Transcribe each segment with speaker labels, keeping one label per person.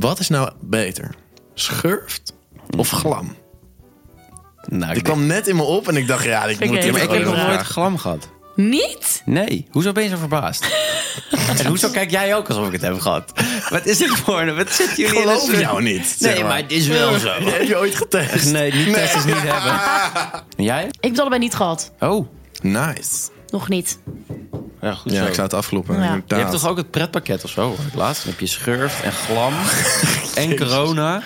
Speaker 1: Wat is nou beter? Schurft of glam?
Speaker 2: Nou,
Speaker 1: Die
Speaker 2: ik, denk-
Speaker 1: kwam net in me op en ik dacht, ja, ik
Speaker 3: Oké,
Speaker 1: moet
Speaker 3: maar
Speaker 1: dit
Speaker 2: maar ik
Speaker 1: gewoon
Speaker 2: heb nog
Speaker 1: even
Speaker 2: nooit
Speaker 1: vragen.
Speaker 2: glam gehad.
Speaker 3: Niet?
Speaker 2: Nee, hoezo ben je zo verbaasd? en hoezo kijk jij ook alsof ik het heb gehad? Wat is dit voor een... Wat zitten jullie in
Speaker 1: Geloof
Speaker 2: een soort-
Speaker 1: jou niet, zeg
Speaker 2: dus, eh, Nee,
Speaker 1: maar.
Speaker 2: maar het is wel zo.
Speaker 1: Heb je ooit getest?
Speaker 2: Nee, die test is niet hebben. En jij?
Speaker 3: Ik heb het allebei niet gehad.
Speaker 2: Oh,
Speaker 1: Nice.
Speaker 3: Nog niet.
Speaker 2: ja, goed
Speaker 1: Ja,
Speaker 2: zo.
Speaker 1: ik zou het afkloppen.
Speaker 3: Ja.
Speaker 2: Je
Speaker 1: inderdaad.
Speaker 2: hebt toch ook het pretpakket of zo? hoor ik Laatst Dan heb je schurft en glam en corona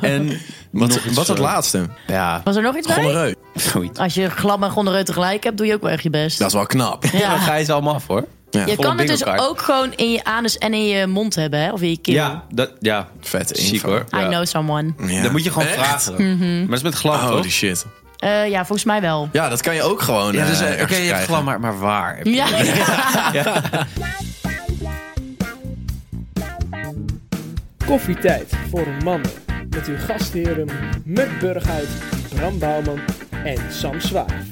Speaker 2: en nog
Speaker 1: Wat,
Speaker 2: iets
Speaker 1: wat is het
Speaker 2: zo.
Speaker 1: laatste?
Speaker 2: Ja,
Speaker 3: Was er nog iets bij?
Speaker 1: Gonoreu.
Speaker 2: zoiets.
Speaker 3: Als je glam en gonoreu tegelijk hebt, doe je ook wel echt je best.
Speaker 1: Dat is wel knap.
Speaker 3: Ja.
Speaker 2: Dan ga je ze allemaal af hoor.
Speaker 1: Ja,
Speaker 3: Je
Speaker 2: volle
Speaker 3: kan het dus
Speaker 2: bingo-kaart.
Speaker 3: ook gewoon in je anus en in je mond hebben, hè? Of in je keel.
Speaker 2: Ja, dat, ja.
Speaker 1: Vette info.
Speaker 2: Ziek hoor.
Speaker 3: I
Speaker 2: Ja.
Speaker 3: know Mhm. someone.
Speaker 1: Ja.
Speaker 2: Dat moet je gewoon
Speaker 1: Echt?
Speaker 2: vragen. Maar dat is met glam toch?
Speaker 1: Holy shit.
Speaker 3: Eh, ja, volgens mij wel.
Speaker 1: Ja, dat kan je ook gewoon.
Speaker 2: Ja,
Speaker 1: eh,
Speaker 2: dus, eh,
Speaker 1: ergens
Speaker 2: Oké, je hebt
Speaker 1: krijgen.
Speaker 2: glam, maar, maar waar? heb je-
Speaker 3: Ja,
Speaker 4: Koffietijd voor mannen. Met uw gastheren Muk Burghuis, Bram Bouwman en Sam Zwaar.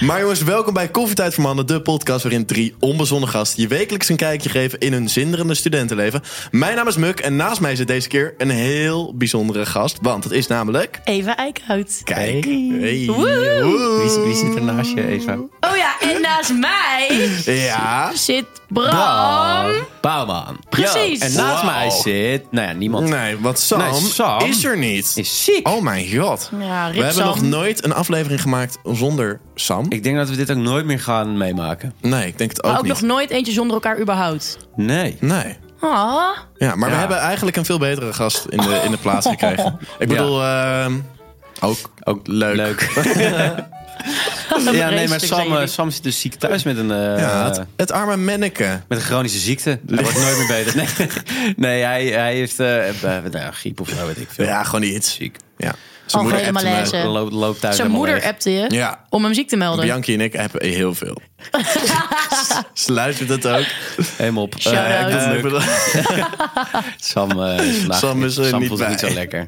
Speaker 1: Maar jongens, welkom bij Koffietijd voor Mannen, de podcast waarin drie onbezonnen gasten je wekelijks een kijkje geven in hun zinderende studentenleven. Mijn naam is Muk en naast mij zit deze keer een heel bijzondere gast, want het is namelijk...
Speaker 3: Eva Eickhout.
Speaker 1: Kijk. Hey.
Speaker 3: Woehoe.
Speaker 1: Woehoe.
Speaker 2: Wie, wie zit er naast je, Eva?
Speaker 3: Oh ja, en naast mij
Speaker 1: Ja.
Speaker 3: zit Bram.
Speaker 2: Bouwman.
Speaker 3: Precies.
Speaker 2: En naast
Speaker 1: Wow.
Speaker 2: mij zit... Nou ja, niemand.
Speaker 1: Nee, wat Sam,
Speaker 2: Nee, Sam
Speaker 1: is er niet.
Speaker 2: Is ziek.
Speaker 1: Oh mijn god.
Speaker 3: Ja, rip
Speaker 1: We hebben
Speaker 3: Sam.
Speaker 1: nog nooit een aflevering gemaakt zonder Sam.
Speaker 2: Ik denk dat we dit ook nooit meer gaan meemaken.
Speaker 1: Nee, ik denk het ook,
Speaker 3: Maar ook
Speaker 1: niet.
Speaker 3: nog nooit eentje zonder elkaar überhaupt.
Speaker 2: Nee.
Speaker 1: Nee.
Speaker 3: Ah,
Speaker 1: Ja, maar we
Speaker 2: Ja.
Speaker 1: hebben eigenlijk een veel betere gast in de, in de plaats gekregen. Ik bedoel, ehm, ook,
Speaker 2: Ook
Speaker 1: leuk.
Speaker 2: ja, nee, maar
Speaker 3: vreselijk zijn
Speaker 2: Sam, eh,
Speaker 3: jullie.
Speaker 2: Sam zit dus ziek thuis met een, eh,
Speaker 1: Ja, het, het arme menneke.
Speaker 2: met een chronische ziekte. Hij wordt nooit meer beter. Nee, nee hij, hij heeft eh, eh, nou, ja, griep of zo, weet ik veel.
Speaker 1: Ja, gewoon iets.
Speaker 2: Ziek.
Speaker 1: Ja.
Speaker 3: Algemene
Speaker 1: appte mij.
Speaker 3: malaise.
Speaker 2: Loopt loopt thuis
Speaker 3: zijn
Speaker 2: helemaal
Speaker 3: moeder
Speaker 2: leeg.
Speaker 3: appte je
Speaker 1: eh, Ja.
Speaker 3: om hem ziek te melden.
Speaker 1: Bianchi en ik hebben heel veel. Ze luistert het ook.
Speaker 2: Helemaal op.
Speaker 3: Shout
Speaker 2: Eh, ik
Speaker 3: out.
Speaker 1: Eh,
Speaker 2: doe het
Speaker 1: ik
Speaker 2: Oh, leuk.
Speaker 1: bedoel-
Speaker 2: Sam, eh, is vandaag
Speaker 1: Sam
Speaker 2: niet-
Speaker 1: is er
Speaker 2: Sam
Speaker 1: niet
Speaker 2: voelt zich
Speaker 1: bij.
Speaker 2: niet zo lekker.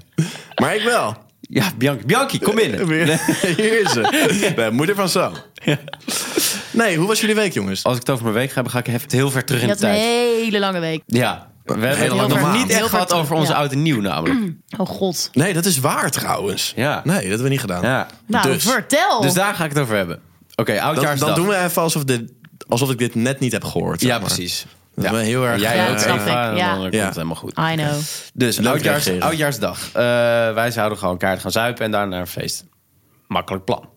Speaker 1: maar ik wel.
Speaker 2: Ja, Bianchi, Bianchi kom binnen.
Speaker 1: Weer- Hier is ze. Nee, moeder van Sam. Nee, hoe was jullie week, jongens?
Speaker 2: Als ik het over mijn week ga hebben, ga ik even het heel ver terug in
Speaker 3: Je
Speaker 2: de
Speaker 3: had een
Speaker 2: tijd.
Speaker 3: hele lange week.
Speaker 2: Ja, we hebben het
Speaker 1: hele
Speaker 2: nog
Speaker 1: lange maand.
Speaker 2: niet
Speaker 3: Heel
Speaker 2: echt
Speaker 3: ver
Speaker 2: gehad
Speaker 3: terug,
Speaker 2: over onze
Speaker 3: ja.
Speaker 2: oud en nieuw namelijk.
Speaker 3: Oh god.
Speaker 1: Nee, dat is waar trouwens.
Speaker 2: Ja.
Speaker 1: Nee, dat hebben we niet gedaan.
Speaker 2: Ja.
Speaker 3: Nou,
Speaker 1: Dus.
Speaker 3: vertel.
Speaker 2: Dus daar ga ik het over hebben. Oké,
Speaker 1: Dan,
Speaker 2: oudjaarsdag.
Speaker 1: dan doen we even alsof, dit, alsof ik dit net niet heb gehoord. zeg
Speaker 2: Ja,
Speaker 1: maar.
Speaker 2: precies.
Speaker 1: Dat we heel erg...
Speaker 2: Jij
Speaker 3: Ja,
Speaker 2: ook,
Speaker 3: dat snap
Speaker 2: Eva,
Speaker 3: ik,
Speaker 2: en
Speaker 3: ja.
Speaker 2: dan komt
Speaker 1: Ja. Ah,
Speaker 2: het helemaal goed.
Speaker 3: I know.
Speaker 2: Dus
Speaker 1: Leuk
Speaker 2: oudjaars,
Speaker 1: reageren.
Speaker 2: oudjaarsdag. Eh, wij zouden gewoon kaart gaan zuipen en daarna een feest. Makkelijk plan.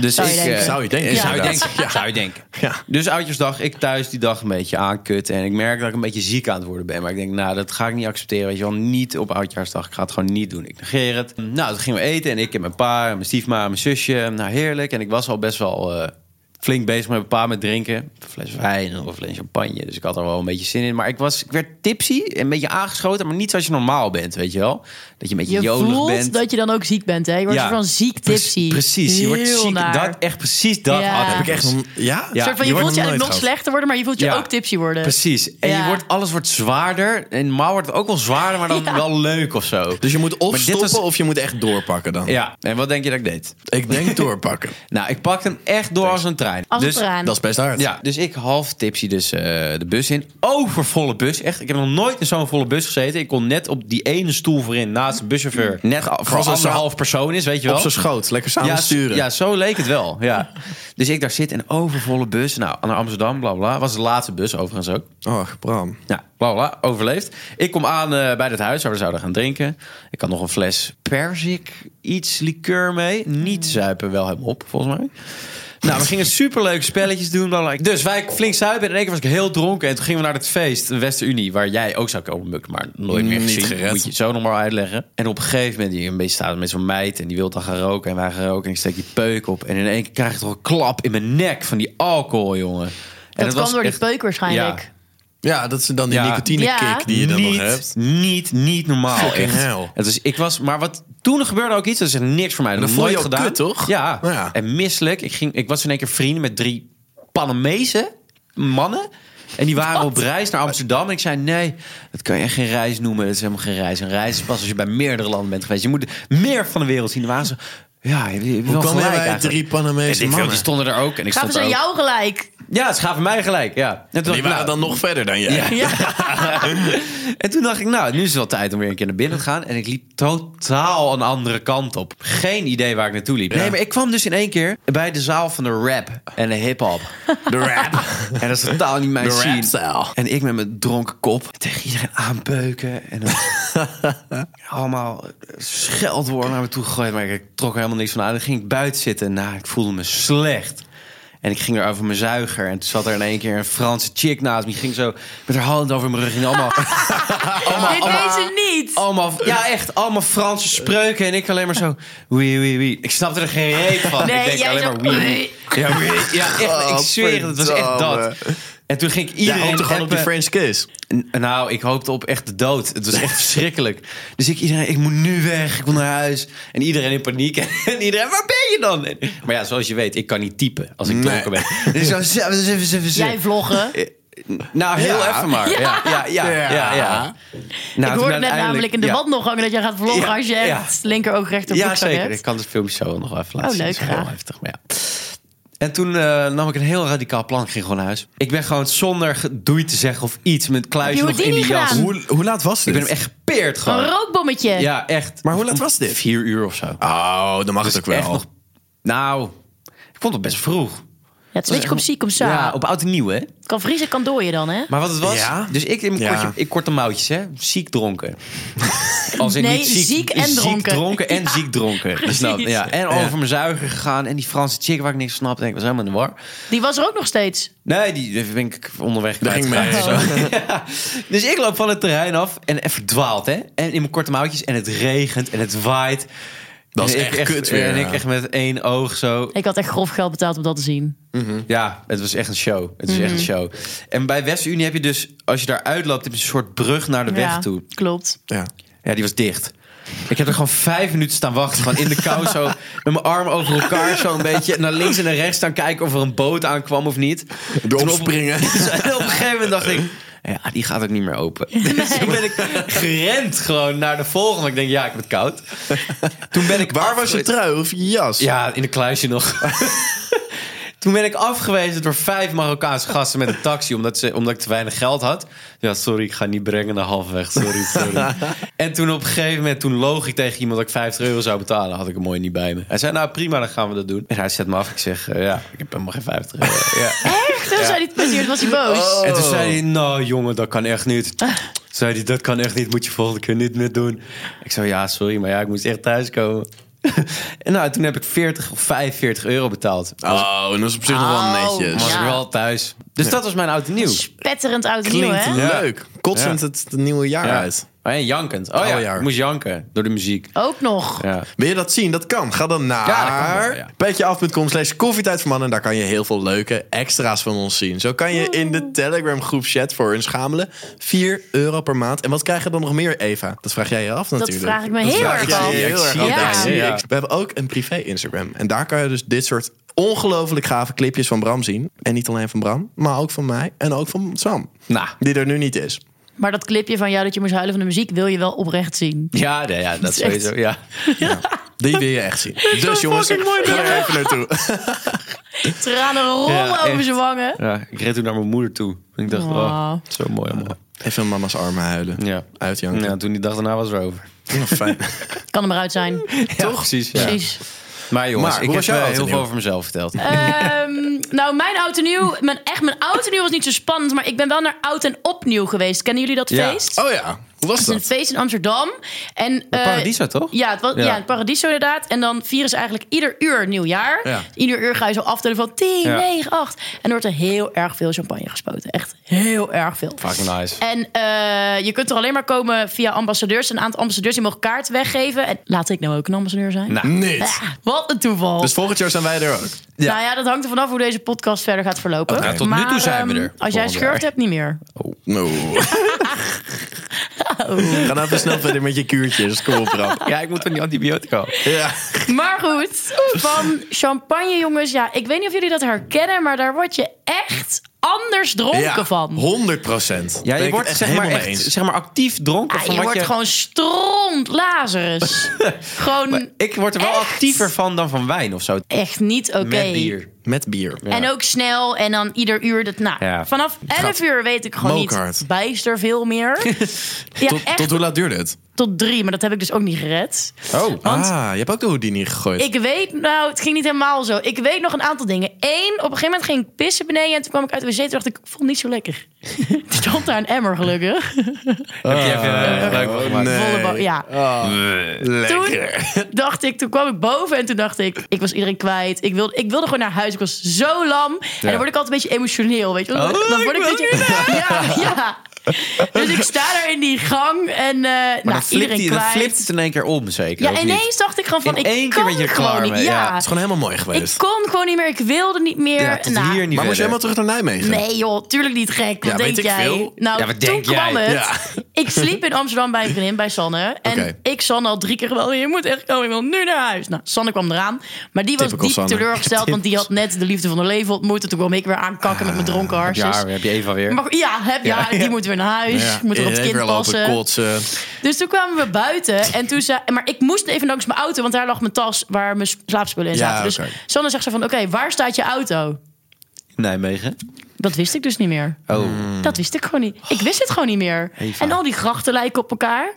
Speaker 2: Dus
Speaker 3: Zou je
Speaker 2: ik,
Speaker 3: denken.
Speaker 2: eh,
Speaker 1: Zou je denken,
Speaker 2: eh, Zou je
Speaker 1: inderdaad.
Speaker 2: denken. Zou je denken.
Speaker 1: Ja.
Speaker 2: Dus oudjaarsdag, ik thuis die dag een beetje aankut. En ik merk dat ik een beetje ziek aan het worden ben. Maar ik denk, nou, dat ga ik niet accepteren. Weet je wel, niet op oudjaarsdag. Ik ga het gewoon niet doen. Ik negeer het. Nou, toen gingen we eten. En ik en mijn pa, en mijn stiefma, en mijn zusje. Nou, heerlijk. En ik was al best wel eh, flink bezig met mijn pa met drinken. Een fles wijn of een fles champagne. Dus ik had er wel een beetje zin in. Maar ik, was, ik werd tipsy. Een beetje aangeschoten. Maar niet zoals je normaal bent, weet je wel. Dat je een beetje
Speaker 3: Je
Speaker 2: jolig
Speaker 3: voelt
Speaker 2: bent.
Speaker 3: dat je dan ook ziek bent, hè? Je wordt
Speaker 2: Ja.
Speaker 3: van ziek tipsy.
Speaker 2: Precies, je wordt
Speaker 3: Heel
Speaker 2: ziek.
Speaker 3: naar.
Speaker 2: Dat, echt precies dat.
Speaker 3: Ja.
Speaker 2: had
Speaker 1: Heb ik echt... nog- Ja?
Speaker 2: Ja.
Speaker 3: Een soort van,
Speaker 1: wordt
Speaker 3: je, voelt je
Speaker 1: nog nooit
Speaker 3: eigenlijk nog
Speaker 1: gehad.
Speaker 3: slechter worden, maar je voelt je
Speaker 2: Ja.
Speaker 3: ook tipsy worden.
Speaker 2: Precies. En
Speaker 3: Ja.
Speaker 2: je wordt, alles wordt zwaarder. En normaal wordt het ook wel zwaarder, maar dan
Speaker 3: Ja.
Speaker 2: wel leuk of zo.
Speaker 1: Dus je moet of
Speaker 2: Maar dit
Speaker 1: stoppen
Speaker 2: was-
Speaker 1: of je moet echt doorpakken dan.
Speaker 2: Ja. En wat denk je dat ik deed?
Speaker 1: Ik denk doorpakken.
Speaker 2: Nou, ik pakte hem echt door als een trein.
Speaker 3: Als
Speaker 2: dus,
Speaker 3: het eraan.
Speaker 1: Dat is best hard.
Speaker 2: Ja, dus ik half tipsy dus eh, de bus in. Overvolle bus, echt. Ik heb nog nooit in zo'n volle bus gezeten. Ik kon net op die ene stoel voorin naast de buschauffeur. Net voor
Speaker 1: zo'n
Speaker 2: anderhalf persoon is, weet je wel.
Speaker 1: Op zijn schoot, lekker samen
Speaker 2: ja,
Speaker 1: sturen.
Speaker 2: Ja, zo leek het wel. Ja. dus ik daar zit in een overvolle bus. Nou, naar Amsterdam, bla bla. Was de laatste bus overigens ook.
Speaker 1: Och, Oh, Bram.
Speaker 2: Nou, bla bla, overleefd. Ik kom aan eh, bij het huis waar we zouden gaan drinken. Ik had nog een fles perzik, iets liqueur mee.
Speaker 3: Mm.
Speaker 2: Niet zuipen, wel helemaal op, volgens mij. Nou, we gingen superleuke spelletjes doen. bla, bla. Dus wij flink zuipen. En in één keer was ik heel dronken. En toen gingen we naar het feest, de Wester-Unie, waar jij ook zou komen, Muk. Maar nooit meer
Speaker 3: Mm,
Speaker 1: Niet
Speaker 2: gezien.
Speaker 1: gered.
Speaker 2: Moet je het zo nog maar uitleggen. En op een gegeven moment, die een beetje staat met zo'n meid. En die wil dan gaan roken. En wij gaan roken. En ik steek die peuk op. En in één keer krijg ik toch een klap in mijn nek van die alcohol, jongen. En
Speaker 3: Dat kwam
Speaker 2: was
Speaker 3: door die
Speaker 2: echt-
Speaker 3: peuk waarschijnlijk.
Speaker 2: Ja.
Speaker 1: Ja, dat is dan die
Speaker 2: Ja.
Speaker 1: nicotine
Speaker 3: Ja.
Speaker 1: kick die je dan
Speaker 2: niet,
Speaker 1: nog hebt.
Speaker 2: Niet, niet normaal.
Speaker 1: Fucking
Speaker 2: echt.
Speaker 1: hell.
Speaker 2: Het is, ik was, maar wat, toen er gebeurde ook iets, dat is echt niks voor mij. Dat
Speaker 1: Dan
Speaker 2: heb ik
Speaker 1: voel je
Speaker 2: nooit
Speaker 1: je ook
Speaker 2: gedaan.
Speaker 1: kut, toch?
Speaker 2: Ja.
Speaker 1: Ja.
Speaker 2: En misselijk. Ik, ging, ik was in één keer vrienden met drie Panamese mannen. En die waren op reis naar Amsterdam. En ik zei, nee, dat kan je echt geen reis noemen. Dat is helemaal geen reis. Een reis is pas als je bij meerdere landen bent geweest. Je moet meer van de wereld zien. Er waren ze Ja, je,
Speaker 1: Hoe
Speaker 2: je
Speaker 1: kwam jij
Speaker 2: gelijk
Speaker 1: bij
Speaker 2: eigenlijk.
Speaker 1: drie
Speaker 2: En
Speaker 1: Panamese
Speaker 2: ik veel,
Speaker 1: mannen?
Speaker 2: die stonden er ook. En ik
Speaker 3: Gaven
Speaker 2: stond
Speaker 3: ze
Speaker 2: er
Speaker 3: dus aan
Speaker 2: ook.
Speaker 3: jou gelijk?
Speaker 2: Ja, ze gaven mij gelijk. Ja. En toen dacht
Speaker 1: Die
Speaker 2: ik,
Speaker 1: waren
Speaker 2: nou,
Speaker 1: dan nog verder dan jij.
Speaker 2: Ja.
Speaker 3: Ja.
Speaker 2: En toen dacht ik, nou, nu is het wel tijd om weer een keer naar binnen te gaan. En ik liep totaal een andere kant op. Geen idee waar ik naartoe liep. Nee, maar ik kwam dus in één keer bij de zaal van de rap en de hip-hop.
Speaker 1: De rap.
Speaker 2: En dat is totaal niet mijn
Speaker 1: De
Speaker 2: scene.
Speaker 1: rapstijl.
Speaker 2: En ik met mijn dronken kop tegen iedereen aanbeuken. En dan allemaal scheldwoorden naar me toe gegooid. Maar ik trok er helemaal niks van aan. Dan ging ik buiten zitten. en Nou, ik voelde me slecht. En ik ging er over mijn zuiger. En toen zat er in één keer een Franse chick naast me. Die ging zo met haar hand over mijn rug. En allemaal,
Speaker 3: Dit weet ze niet.
Speaker 2: allemaal, ja echt, allemaal Franse spreuken. En ik alleen maar zo, oui, oui, oui. Ik snapte er geen reet van.
Speaker 3: Nee,
Speaker 2: ik denk
Speaker 3: jij
Speaker 2: alleen
Speaker 3: zo,
Speaker 2: maar, oui, oui. Ja, oui. ja echt, ik zweer het. Het was echt dat.
Speaker 1: Godverdamme.
Speaker 2: En toen ging ik
Speaker 1: Jij
Speaker 2: iedereen
Speaker 1: hoopt toch gewoon op die
Speaker 2: appen.
Speaker 1: French kiss?
Speaker 2: N- Nou, ik hoopte op echt de dood. Het was echt verschrikkelijk. Dus ik iedereen, ik moet nu weg, ik wil naar huis. En iedereen in paniek. En iedereen, waar ben je dan? En- maar ja, zoals je weet, ik kan niet typen als ik
Speaker 1: Nee.
Speaker 2: dronken ben. Dus zo, zo, zo, zo, zo.
Speaker 3: Jij vloggen.
Speaker 2: Eh, Nou, heel
Speaker 1: Ja.
Speaker 2: even maar. Ja, ja, ja. ja, ja, Nou, toen
Speaker 3: ik hoorde net
Speaker 2: uiteindelijk-
Speaker 3: namelijk in de
Speaker 2: ja.
Speaker 3: wandelgang dat jij gaat vloggen
Speaker 2: Ja,
Speaker 3: als je
Speaker 2: ja.
Speaker 3: echt linker ook rechter
Speaker 2: Ja,
Speaker 3: broekzak
Speaker 2: zeker.
Speaker 3: hebt.
Speaker 2: Ik kan het filmpje zo nog wel even laten
Speaker 3: Oh,
Speaker 2: zien.
Speaker 3: leuk,
Speaker 2: Het is heel
Speaker 3: graag.
Speaker 2: heftig, maar ja. En toen eh, nam ik een heel radicaal plan. Ik ging gewoon naar huis. Ik ben gewoon zonder doei te zeggen of iets... met kluisje
Speaker 3: je
Speaker 2: nog in
Speaker 3: Houdini
Speaker 2: die jas.
Speaker 3: gedaan?
Speaker 1: Hoe, hoe laat was
Speaker 2: Ik
Speaker 1: dit?
Speaker 2: ben hem echt gepeerd gewoon.
Speaker 3: Een rookbommetje.
Speaker 2: Ja, echt.
Speaker 1: Maar hoe laat was dit?
Speaker 2: Vier uur of zo.
Speaker 1: Oh, dan mag het ook
Speaker 2: Echt
Speaker 1: wel.
Speaker 2: nog... Nou, ik vond het best vroeg.
Speaker 3: Ja, het is een beetje kom zie, kom sa.
Speaker 2: Ja, op oud en nieuw, hè?
Speaker 3: Kan vriezen, kan dooien dan, hè?
Speaker 2: Maar wat het was...
Speaker 1: Ja?
Speaker 2: Dus ik in mijn
Speaker 1: Ja.
Speaker 2: kortje, ik korte mouwtjes, hè? Ziek dronken. Als
Speaker 3: Nee, ziek en dronken.
Speaker 2: Ziek dronken en ziek dronken. Dus nou,
Speaker 3: precies.
Speaker 2: ja. En over mijn zuiger gegaan. En die Franse chick waar ik niks van snapte. En ik was helemaal in de war.
Speaker 3: Die was er ook nog steeds.
Speaker 2: Nee, die, die ben ik onderweg
Speaker 1: Daar ging
Speaker 2: kwijtgeraakt.
Speaker 1: mee.
Speaker 2: Ja. Dus ik loop van het terrein af en en verdwaald, hè? En in mijn korte mouwtjes en het regent en het waait.
Speaker 1: Dat is
Speaker 2: En ik
Speaker 1: echt kut weer,
Speaker 2: En
Speaker 1: ja.
Speaker 2: ik echt met één oog zo.
Speaker 3: Ik had echt grof geld betaald om dat te zien.
Speaker 1: Mm.
Speaker 2: Ja, het was echt een show. Het is echt
Speaker 3: Mhm.
Speaker 2: een show. En bij West-Unie heb je dus, als je daar uitloopt, heb je een soort brug naar de
Speaker 3: ja,
Speaker 2: weg toe.
Speaker 3: klopt.
Speaker 1: Ja.
Speaker 2: Ja, die was dicht. Ik heb er gewoon vijf minuten staan wachten. Gewoon in de kou zo. Met mijn arm over elkaar zo een beetje. Naar links en naar rechts staan kijken of er een boot aankwam of niet.
Speaker 1: Door
Speaker 2: Toen op-
Speaker 1: opspringen.
Speaker 2: Dus en op een gegeven moment dacht ik... Ja, die gaat ook niet meer open. Dus toen ben ik gerend gewoon naar de volgende. Ik denk, ja, ik word koud. Toen ben ik
Speaker 1: Waar was je
Speaker 2: afge-
Speaker 1: trui of je jas?
Speaker 2: Ja, in de kluisje nog. Toen ben ik afgewezen door vijf Marokkaanse gasten met een taxi... omdat, ze, omdat ik te weinig geld had. Ja, sorry, ik ga niet brengen naar halfweg. Sorry, sorry. en toen op een gegeven moment toen loog ik tegen iemand... dat ik 50 euro zou betalen. Had ik hem mooi niet bij me. Hij zei, nou prima, dan gaan we dat doen. En hij zet me af. Ik zeg, eh, ja, ik heb helemaal geen 50 euro. ja.
Speaker 3: Echt? Toen zei hij, toen was hij boos.
Speaker 2: En toen zei hij, nou jongen, dat kan echt niet.
Speaker 3: Ah.
Speaker 2: Toen zei hij, dat kan echt niet, moet je volgende keer niet meer doen. Ik zei, ja, sorry, maar ja, ik moest echt thuiskomen. en nou, toen heb ik 40 of 45 euro betaald. Dan
Speaker 1: Oh, en dat is op zich nog
Speaker 3: Oh,
Speaker 1: wel netjes.
Speaker 2: was
Speaker 3: ja.
Speaker 2: ik wel thuis. Dus dat was mijn oud en nieuw.
Speaker 3: Spetterend oud en nieuw,
Speaker 1: Klinkt
Speaker 3: hè?
Speaker 2: Ja.
Speaker 1: leuk. Kotsend
Speaker 2: Ja.
Speaker 1: het nieuwe jaar
Speaker 2: Ja.
Speaker 1: uit.
Speaker 2: Oh, en jankend. Oh ja,
Speaker 1: Oh, ja.
Speaker 2: ik moest janken door de muziek.
Speaker 3: Ook nog.
Speaker 2: Ja.
Speaker 1: Wil je dat zien? Dat kan. Ga dan naar
Speaker 2: Ja, dat kan wel, ja.
Speaker 1: petjeaf.com slash koffietijd voor mannen. Daar kan je heel veel leuke extra's van ons zien. Zo kan je in de Telegram groep chat voor hun schamelen. 4 euro per maand. En wat krijg je dan nog meer, Eva? Dat vraag jij je af natuurlijk.
Speaker 3: vraag ik me heel
Speaker 1: vraag
Speaker 3: erg
Speaker 1: jij je
Speaker 3: af.
Speaker 1: heel erg
Speaker 2: Ja.
Speaker 1: af. Dat
Speaker 3: Ja.
Speaker 1: zie
Speaker 2: Ja.
Speaker 1: ik. We hebben ook een privé Instagram. En daar kan je dus dit soort ongelooflijk gave clipjes van Bram zien. En niet alleen van Bram, maar ook van mij en ook van Sam.
Speaker 2: Nou,
Speaker 1: Die er nu niet is.
Speaker 3: Maar dat clipje van jou dat je moest huilen van de muziek... wil je wel oprecht zien.
Speaker 2: ja, nee, ja dat
Speaker 3: is echt-
Speaker 2: sowieso. Ja.
Speaker 1: Die wil je echt zien. Dus jongens, ga
Speaker 3: fucking mooi
Speaker 1: er even naartoe.
Speaker 3: Tranen rollen
Speaker 2: Ja, echt.
Speaker 3: over zijn wangen.
Speaker 2: ja, ik reed toen naar mijn moeder toe. En ik dacht,
Speaker 3: Wow.
Speaker 2: oh, zo mooi allemaal.
Speaker 1: Even in mama's armen huilen.
Speaker 2: Ja.
Speaker 1: Uitjanken.
Speaker 2: Ja, toen die dag daarna was het over.
Speaker 1: Fijn.
Speaker 3: Kan er maar uit zijn.
Speaker 2: Toch? Precies. ja.
Speaker 3: Precies.
Speaker 2: Maar jongens,
Speaker 1: Maar,
Speaker 2: ik
Speaker 1: hoe
Speaker 2: heb
Speaker 1: was jouw
Speaker 2: eh,
Speaker 1: oud en
Speaker 2: heel veel
Speaker 1: nieuw?
Speaker 2: over mezelf verteld.
Speaker 3: Ehm, nou, mijn oud en nieuw... Mijn, echt, mijn oud en nieuw was niet zo spannend... maar ik ben wel naar oud en opnieuw geweest. Kennen jullie dat
Speaker 2: Ja.
Speaker 3: feest?
Speaker 1: Oh ja, hoe was
Speaker 3: Het is
Speaker 1: dat?
Speaker 3: een feest in Amsterdam. En, eh,
Speaker 2: Paradiso, toch?
Speaker 3: Ja, het was,
Speaker 2: Ja.
Speaker 3: ja. het Paradiso inderdaad. En dan vieren ze eigenlijk ieder uur nieuwjaar.
Speaker 1: Ja.
Speaker 3: Ieder uur ga je zo aftellen van 10,
Speaker 2: Ja.
Speaker 3: 9, 8. En er wordt er heel erg veel champagne gespoten. Echt heel erg veel.
Speaker 2: Fucking nice.
Speaker 3: En eh, je kunt er alleen maar komen via ambassadeurs. Een aantal ambassadeurs die mogen kaart weggeven. En laat ik nou ook een ambassadeur zijn.
Speaker 2: Nou,
Speaker 1: Niet.
Speaker 3: Ah, wat een toeval.
Speaker 1: Dus volgend jaar zijn wij er ook.
Speaker 3: Nou ja, dat hangt er vanaf hoe deze podcast verder gaat verlopen.
Speaker 2: Oké. Nou, tot nu toe
Speaker 3: Maar,
Speaker 2: zijn we
Speaker 3: ehm,
Speaker 2: er.
Speaker 3: Als jij
Speaker 2: Volgend jaar.
Speaker 3: schurft hebt, niet meer.
Speaker 1: No.
Speaker 3: Oh.
Speaker 1: Ga nou even snel verder met je kuurtjes. Kom op, Rap.
Speaker 2: Ja, ik moet van die antibiotica.
Speaker 1: Ja.
Speaker 3: Maar goed, van champagne, jongens. Ja, ik weet niet of jullie dat herkennen, maar daar word je echt anders dronken van.
Speaker 1: 100 procent.
Speaker 2: Ja, je wordt zeg maar, echt, zeg maar actief dronken.
Speaker 3: Ja,
Speaker 2: van
Speaker 3: Ah, je
Speaker 2: wat
Speaker 3: wordt
Speaker 2: je...
Speaker 3: gewoon stront Lazarus. gewoon
Speaker 2: Ik word er wel
Speaker 3: Echt?
Speaker 2: actiever van dan van wijn of zo.
Speaker 3: echt niet oké.
Speaker 2: Met bier.
Speaker 1: Met bier.
Speaker 2: Ja.
Speaker 3: En ook snel en dan ieder uur. Dat, nou,
Speaker 2: Ja.
Speaker 3: Vanaf 11 uur weet ik gewoon
Speaker 1: Mokhard.
Speaker 3: niet bijster veel meer. ja,
Speaker 1: tot,
Speaker 3: echt
Speaker 1: tot hoe laat duurde het?
Speaker 3: tot drie, maar dat heb ik dus ook niet gered.
Speaker 2: Oh,
Speaker 3: Want-
Speaker 1: ah, je hebt ook de Houdini gegooid.
Speaker 3: Ik weet, nou, het ging niet helemaal zo. Ik weet nog een aantal dingen. Eén, op een gegeven moment ging ik pissen beneden en toen kwam ik uit de wc. Toen dacht ik, ik voel me niet zo lekker. Toen stond daar een emmer, gelukkig.
Speaker 2: heb
Speaker 1: Ah.
Speaker 2: je even eh, gebruik van gemaakt?
Speaker 1: nee.
Speaker 3: Volle ba- ja.
Speaker 2: Ah,
Speaker 3: Toen
Speaker 1: Lekker.
Speaker 3: dacht ik, toen kwam ik boven en toen dacht ik, ik was iedereen kwijt. Ik wilde, ik wilde gewoon naar huis. Ik was zo lam. En dan word ik altijd een beetje emotioneel, weet je. wel.
Speaker 2: Oh,
Speaker 3: dan word
Speaker 2: ik
Speaker 3: een
Speaker 2: wil
Speaker 3: beetje. Ja, ja. Dus ik sta daar in die gang en eh
Speaker 2: Maar
Speaker 3: nou,
Speaker 2: dan, flipt
Speaker 3: iedereen
Speaker 2: hij, dan
Speaker 3: kwijt.
Speaker 2: flipt het in één keer om, zeker. of
Speaker 3: ja,
Speaker 2: niet?
Speaker 3: ineens dacht ik gewoon van,
Speaker 2: In
Speaker 3: ik
Speaker 2: één keer
Speaker 3: kan
Speaker 2: ben je er
Speaker 3: gewoon
Speaker 2: klaar
Speaker 3: niet.
Speaker 2: mee, ja.
Speaker 3: ja.
Speaker 1: Het is gewoon helemaal mooi
Speaker 3: Ik
Speaker 1: geweest.
Speaker 3: kon gewoon niet meer, ik wilde niet meer.
Speaker 2: Ja, tot
Speaker 3: Nou,
Speaker 2: hier niet
Speaker 1: maar moest je helemaal
Speaker 2: verder.
Speaker 1: terug naar Nijmegen?
Speaker 3: Nee joh, tuurlijk niet gek. Wat
Speaker 1: Ja,
Speaker 3: denk
Speaker 1: weet ik
Speaker 3: jij?
Speaker 1: veel.
Speaker 3: Nou,
Speaker 2: Ja, wat
Speaker 3: toen
Speaker 2: denk jij?
Speaker 3: kwam het.
Speaker 1: Ja.
Speaker 3: Ik sliep in Amsterdam bij een vriendin, bij Sanne. En
Speaker 1: Oké.
Speaker 3: ik Sanne al drie keer wel, je moet echt komen, ik wil nu naar huis. Nou, Sanne kwam eraan. Maar die was
Speaker 1: Typical
Speaker 3: diep
Speaker 1: Sanne.
Speaker 3: teleurgesteld, want die had net de liefde van haar leven ontmoet. En toen kwam ik weer aankakken met mijn dronken harsjes.
Speaker 2: Ja, heb je Eva weer.
Speaker 3: Maar goed, ja, heb, ja, die moet weer naar huis.
Speaker 1: Ja,
Speaker 3: moet er op het
Speaker 1: even
Speaker 3: kind
Speaker 1: lopen
Speaker 3: passen.
Speaker 1: kotsen.
Speaker 3: Dus toen kwamen we buiten en toen zei... Maar ik moest even langs mijn auto, want daar lag mijn tas waar mijn slaapspullen in
Speaker 1: Ja,
Speaker 3: zaten.
Speaker 1: oké.
Speaker 3: Dus Sanne zegt ze van, oké, waar staat je auto?
Speaker 2: Nijmegen.
Speaker 3: Dat wist ik dus niet meer.
Speaker 2: Oh.
Speaker 1: Hmm.
Speaker 3: Dat wist ik gewoon niet. Ik wist het gewoon niet meer.
Speaker 1: Oh,
Speaker 2: Eva.
Speaker 3: En al die grachten lijken op elkaar.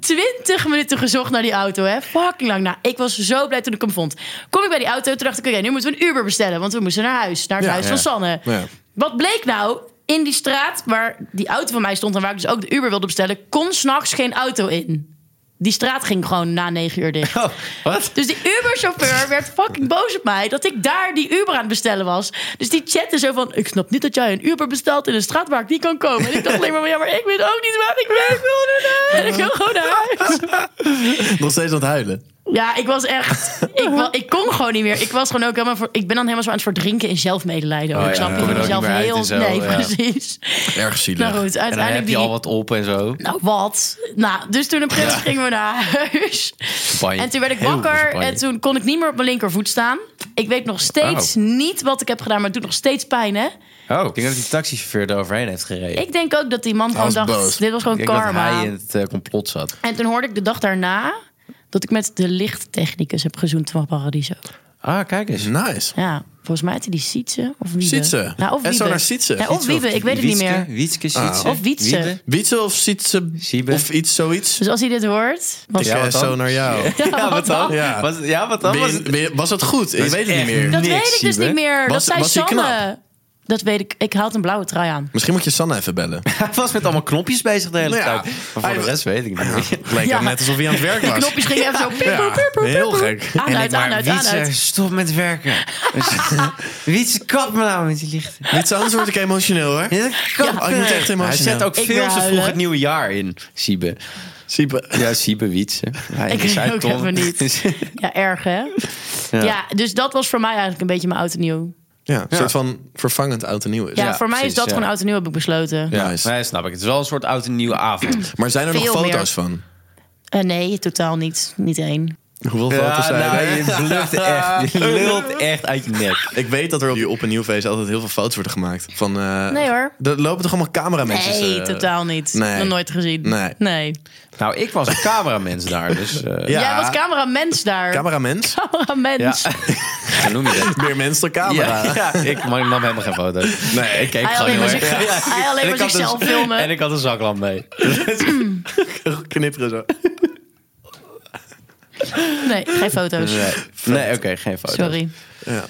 Speaker 3: Twintig minuten gezocht naar die auto, hè. Fucking lang. Nou, ik was zo blij toen ik hem vond. Kom ik bij die auto, toen dacht ik... Oké, nu moeten we een Uber bestellen. Want we moesten naar huis. Naar het
Speaker 1: Ja,
Speaker 3: huis van
Speaker 1: ja.
Speaker 3: Sanne.
Speaker 1: Ja.
Speaker 3: Wat bleek nou? In die straat waar die auto van mij stond... en waar ik dus ook de Uber wilde bestellen... kon s'nachts geen auto in. Die straat ging gewoon na negen uur dicht.
Speaker 2: Oh, wat?
Speaker 3: Dus die Uber-chauffeur werd fucking boos op mij dat ik daar die Uber aan het bestellen was. Dus die chatte zo van: Ik snap niet dat jij een Uber bestelt in een straat waar ik niet kan komen. En ik dacht alleen maar: van, Ja, maar ik weet ook niet waar ik ben. Ik wil naar huis. Ik wil gewoon naar huis.
Speaker 1: Nog steeds aan het huilen.
Speaker 3: Ja, ik was echt. Ik, wa- ik kon gewoon niet meer. Ik was gewoon ook helemaal. Voor, ik ben dan helemaal zo aan het verdrinken in zelfmedelijden. Ook,
Speaker 2: Oh ja,
Speaker 3: snap
Speaker 2: ja,
Speaker 3: je?
Speaker 2: kom
Speaker 3: Ik
Speaker 2: er
Speaker 3: ben
Speaker 2: ook
Speaker 3: zelf
Speaker 2: niet meer uit
Speaker 3: heel.
Speaker 2: en zo,
Speaker 3: nee,
Speaker 2: ja.
Speaker 3: precies.
Speaker 1: Erg zielig.
Speaker 3: Nou goed,
Speaker 2: En dan
Speaker 3: uiteindelijk
Speaker 2: heb je
Speaker 3: die.
Speaker 2: al wat op en zo.
Speaker 3: Nou, wat? Nou, dus toen op een gegeven moment gingen we naar huis.
Speaker 2: Champagne.
Speaker 3: En toen werd ik
Speaker 2: Heel veel
Speaker 3: wakker
Speaker 2: champagne.
Speaker 3: en toen kon ik niet meer op mijn linkervoet staan. Ik weet nog steeds niet wat ik heb gedaan, maar het doet nog steeds pijn, hè?
Speaker 2: Oh, ik denk dat die taxichauffeur er overheen heeft gereden.
Speaker 3: Ik denk ook dat die man gewoon
Speaker 1: was
Speaker 3: dacht,
Speaker 1: boos.
Speaker 3: dit was gewoon
Speaker 2: Ik denk dat
Speaker 3: karma.
Speaker 2: hij in het eh, complot zat.
Speaker 3: En toen hoorde ik de dag daarna dat ik met de lichttechnicus heb gezoend van Paradiso.
Speaker 2: Ah, kijk eens.
Speaker 1: Nice.
Speaker 3: Ja, volgens mij heette die Sietse of Wiebe.
Speaker 1: Sietse.
Speaker 3: Nou,
Speaker 1: En
Speaker 3: of
Speaker 1: zo
Speaker 3: Wiebe.
Speaker 1: naar Sietse.
Speaker 3: Ja, of
Speaker 1: Sietse of
Speaker 3: Wiebe, ik weet het niet meer.
Speaker 2: Wietske, Sietse.
Speaker 3: Of Wietse.
Speaker 1: Wietse of Sietse
Speaker 2: Siebe.
Speaker 1: of iets zoiets.
Speaker 3: Dus als hij dit hoort... was-
Speaker 1: Ik
Speaker 2: Ja,
Speaker 1: eh,
Speaker 2: wat dan?
Speaker 1: zo naar jou.
Speaker 2: Ja, wat dan?
Speaker 1: Ja.
Speaker 2: Was, ja, wat dan?
Speaker 1: Ben
Speaker 2: Was
Speaker 1: je-
Speaker 2: het-
Speaker 1: ben je- was het goed? Ik
Speaker 2: is
Speaker 1: weet het niet
Speaker 2: echt
Speaker 1: meer.
Speaker 3: Dat
Speaker 2: niks,
Speaker 3: weet ik dus
Speaker 2: Siebe.
Speaker 3: niet meer.
Speaker 1: Was-
Speaker 3: dat
Speaker 1: was hij
Speaker 3: zei Sanne.
Speaker 1: knap?
Speaker 3: Dat weet ik. Ik haal een blauwe trui aan.
Speaker 1: Misschien moet je Sanne even bellen.
Speaker 2: Hij was met allemaal knopjes bezig de hele
Speaker 1: Nou ja.
Speaker 2: tijd. Maar voor
Speaker 1: Hij-
Speaker 2: de rest weet ik niet.
Speaker 1: Het leek
Speaker 3: Ja.
Speaker 1: ook net alsof hij aan het werk
Speaker 3: Die
Speaker 1: was.
Speaker 3: knopjes gingen even zo... piep,
Speaker 1: Ja,
Speaker 3: piep, piep, piep,
Speaker 1: heel
Speaker 3: piep.
Speaker 1: gek.
Speaker 3: Aan,
Speaker 2: En ik
Speaker 3: uit, aan,
Speaker 2: maar,
Speaker 3: uit, aan,
Speaker 2: Wietse,
Speaker 3: uit.
Speaker 2: stop met werken. Wietse, kap me nou met die lichten.
Speaker 1: Wietse, anders word ik emotioneel hoor.
Speaker 2: Kap
Speaker 1: Oh, ik word
Speaker 2: me.
Speaker 1: echt emotioneel.
Speaker 2: Hij zet ook
Speaker 3: Ik
Speaker 2: veel
Speaker 3: wil
Speaker 2: te vroeg
Speaker 3: huilen.
Speaker 2: het nieuwe jaar in, Siebe.
Speaker 1: Siebe.
Speaker 2: Ja, Siebe Wietse. Ja,
Speaker 3: Ik
Speaker 2: in de
Speaker 3: weet ook
Speaker 2: Zuidton.
Speaker 3: even niet. Ja, erg hè? Ja. dus dat was voor mij eigenlijk een beetje mijn oud en nieuw.
Speaker 1: Ja, een soort van vervangend oud en nieuw is.
Speaker 3: Ja,
Speaker 2: Ja,
Speaker 3: voor mij
Speaker 2: precies,
Speaker 3: is dat
Speaker 2: ja.
Speaker 3: gewoon oud en nieuw heb ik besloten.
Speaker 2: Ja,
Speaker 1: Nice.
Speaker 2: nee, snap ik. Het is wel een soort oud en nieuwe avond.
Speaker 1: Maar zijn er nog
Speaker 3: Veel
Speaker 1: foto's
Speaker 3: meer.
Speaker 1: van?
Speaker 3: Eh, nee, totaal niet. Niet één.
Speaker 1: Hoeveel foto's zijn
Speaker 2: nou,
Speaker 1: er?
Speaker 2: je bluft echt. Je lult echt uit je nek.
Speaker 1: Ik weet dat er op die op- en nieuwfeest altijd heel veel foto's worden gemaakt. Van, eh,
Speaker 3: Nee, hoor.
Speaker 1: Er lopen toch allemaal cameramensen?
Speaker 3: Nee,
Speaker 1: eh,
Speaker 3: totaal niet.
Speaker 1: nee.
Speaker 3: Nog nooit gezien.
Speaker 1: Nee.
Speaker 2: Nou, ik was een cameramens daar, dus... eh,
Speaker 1: Ja.
Speaker 3: Jij was cameramens daar.
Speaker 1: Cameramens?
Speaker 3: cameramens.
Speaker 2: Ja. Hoe noem je dat?
Speaker 1: Meer mens dan camera.
Speaker 2: Ja, ja, ik nam helemaal geen foto's. Nee, ik keek
Speaker 3: Hij
Speaker 2: gewoon
Speaker 3: alleen maar,
Speaker 2: heel
Speaker 3: zich,
Speaker 2: erg.
Speaker 3: hij alleen
Speaker 2: En
Speaker 3: maar
Speaker 2: ik had
Speaker 1: dus-
Speaker 3: zichzelf
Speaker 2: een-
Speaker 3: filmen.
Speaker 2: En ik had een zaklamp mee.
Speaker 1: Knipperen zo.
Speaker 3: Nee, geen foto's.
Speaker 2: Nee, nee oké, geen foto's.
Speaker 3: Sorry.
Speaker 1: Ja.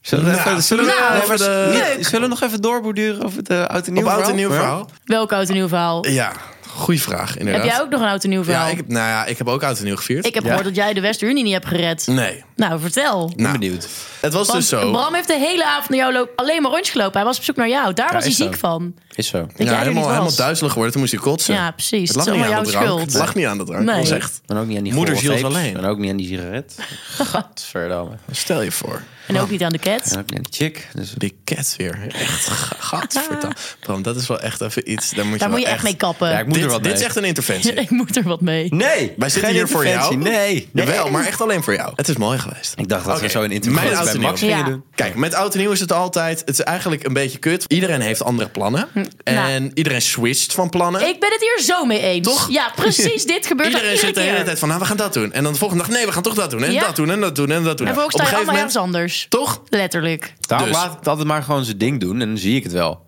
Speaker 2: Zullen we,
Speaker 1: Nou,
Speaker 2: even, zullen we,
Speaker 3: nou,
Speaker 2: nee, maar
Speaker 1: even
Speaker 2: niet-
Speaker 3: leuk.
Speaker 2: zullen we nog even doorborduren over het eh, oud en nieuw
Speaker 1: Op oud en nieuw
Speaker 2: verhaal?
Speaker 1: verhaal?
Speaker 3: Welk oud en nieuw verhaal?
Speaker 1: Ja, goeie vraag
Speaker 3: Heb
Speaker 1: inderdaad.
Speaker 3: jij ook nog een oud en nieuw verhaal?
Speaker 1: Ja, ik, heb- nou ja, ik heb ook oud en nieuw gevierd.
Speaker 3: Ik heb gehoord dat jij de Westerunie niet hebt gered.
Speaker 1: Nee.
Speaker 3: Nou, vertel.
Speaker 2: Ik ben
Speaker 1: Nou,
Speaker 2: benieuwd.
Speaker 1: het was
Speaker 3: Want
Speaker 1: dus zo.
Speaker 3: Bram heeft de hele avond naar jou lo- alleen maar rondje gelopen. Hij was op zoek naar jou. Daar was hij
Speaker 2: is
Speaker 3: ziek
Speaker 2: zo.
Speaker 3: van.
Speaker 2: Is zo.
Speaker 3: Dat
Speaker 1: ja,
Speaker 3: jij er
Speaker 1: helemaal,
Speaker 3: niet was.
Speaker 1: helemaal duizelig geworden. Toen moest je kotsen.
Speaker 3: Ja,
Speaker 1: Het
Speaker 3: precies. Het
Speaker 1: lag
Speaker 3: is
Speaker 1: niet aan
Speaker 3: allemaal
Speaker 1: de
Speaker 3: jouw
Speaker 1: drank.
Speaker 3: schuld.
Speaker 1: Het lag niet aan de drank.
Speaker 3: Nee.
Speaker 1: Dat was echt.
Speaker 2: En ook niet aan die
Speaker 1: Moeder
Speaker 2: golfvapes.
Speaker 1: Gilles alleen.
Speaker 2: En ook niet aan die sigaret. Godverdamme.
Speaker 1: Stel je voor.
Speaker 3: En ook niet aan de cat.
Speaker 2: En ook niet aan die chick. Dus
Speaker 1: Die cat weer. Echt. Gadverdamme. Bram, dat is wel echt even iets. Daar moet je,
Speaker 3: Daar
Speaker 1: wel
Speaker 3: moet je echt mee kappen.
Speaker 2: Ja, ik moet
Speaker 1: Dit
Speaker 2: er wat
Speaker 1: dit
Speaker 2: mee.
Speaker 1: is echt een interventie.
Speaker 3: Ik moet er wat mee.
Speaker 2: Nee,
Speaker 1: Wij zitten
Speaker 2: geen
Speaker 1: hier voor jou.
Speaker 2: interventie. Nee. nee.
Speaker 1: Jawel, maar echt alleen voor jou. Het is mooi geweest.
Speaker 2: Ik dacht dat we
Speaker 1: Oké,
Speaker 2: zo een
Speaker 1: mijn
Speaker 2: interventie
Speaker 1: oud
Speaker 2: bij
Speaker 1: en
Speaker 2: Max
Speaker 1: nieuw.
Speaker 2: gingen
Speaker 3: Ja.
Speaker 2: doen.
Speaker 1: Kijk, met oud en nieuw is het altijd. Het is eigenlijk een beetje kut. Iedereen heeft andere plannen.
Speaker 3: Hm, nou.
Speaker 1: En iedereen switcht van plannen.
Speaker 3: Ik ben het hier zo mee eens.
Speaker 1: Toch?
Speaker 3: Ja, precies. Dit gebeurt er
Speaker 1: Iedereen
Speaker 3: iedere
Speaker 1: zegt de hele
Speaker 3: keer.
Speaker 1: tijd van, nou, we gaan dat doen. En dan de volgende dag, nee, we gaan toch dat doen. En
Speaker 3: Ja.
Speaker 1: dat doen, en dat doen, en dat doen.
Speaker 3: En
Speaker 1: Op
Speaker 3: vervolgens sta
Speaker 1: een
Speaker 3: je
Speaker 1: gegeven
Speaker 3: allemaal
Speaker 1: moment,
Speaker 3: ergens anders.
Speaker 1: toch?
Speaker 3: Letterlijk.
Speaker 2: Daarom
Speaker 1: Dus.
Speaker 2: laat het altijd maar gewoon zijn ding doen en dan zie ik het wel.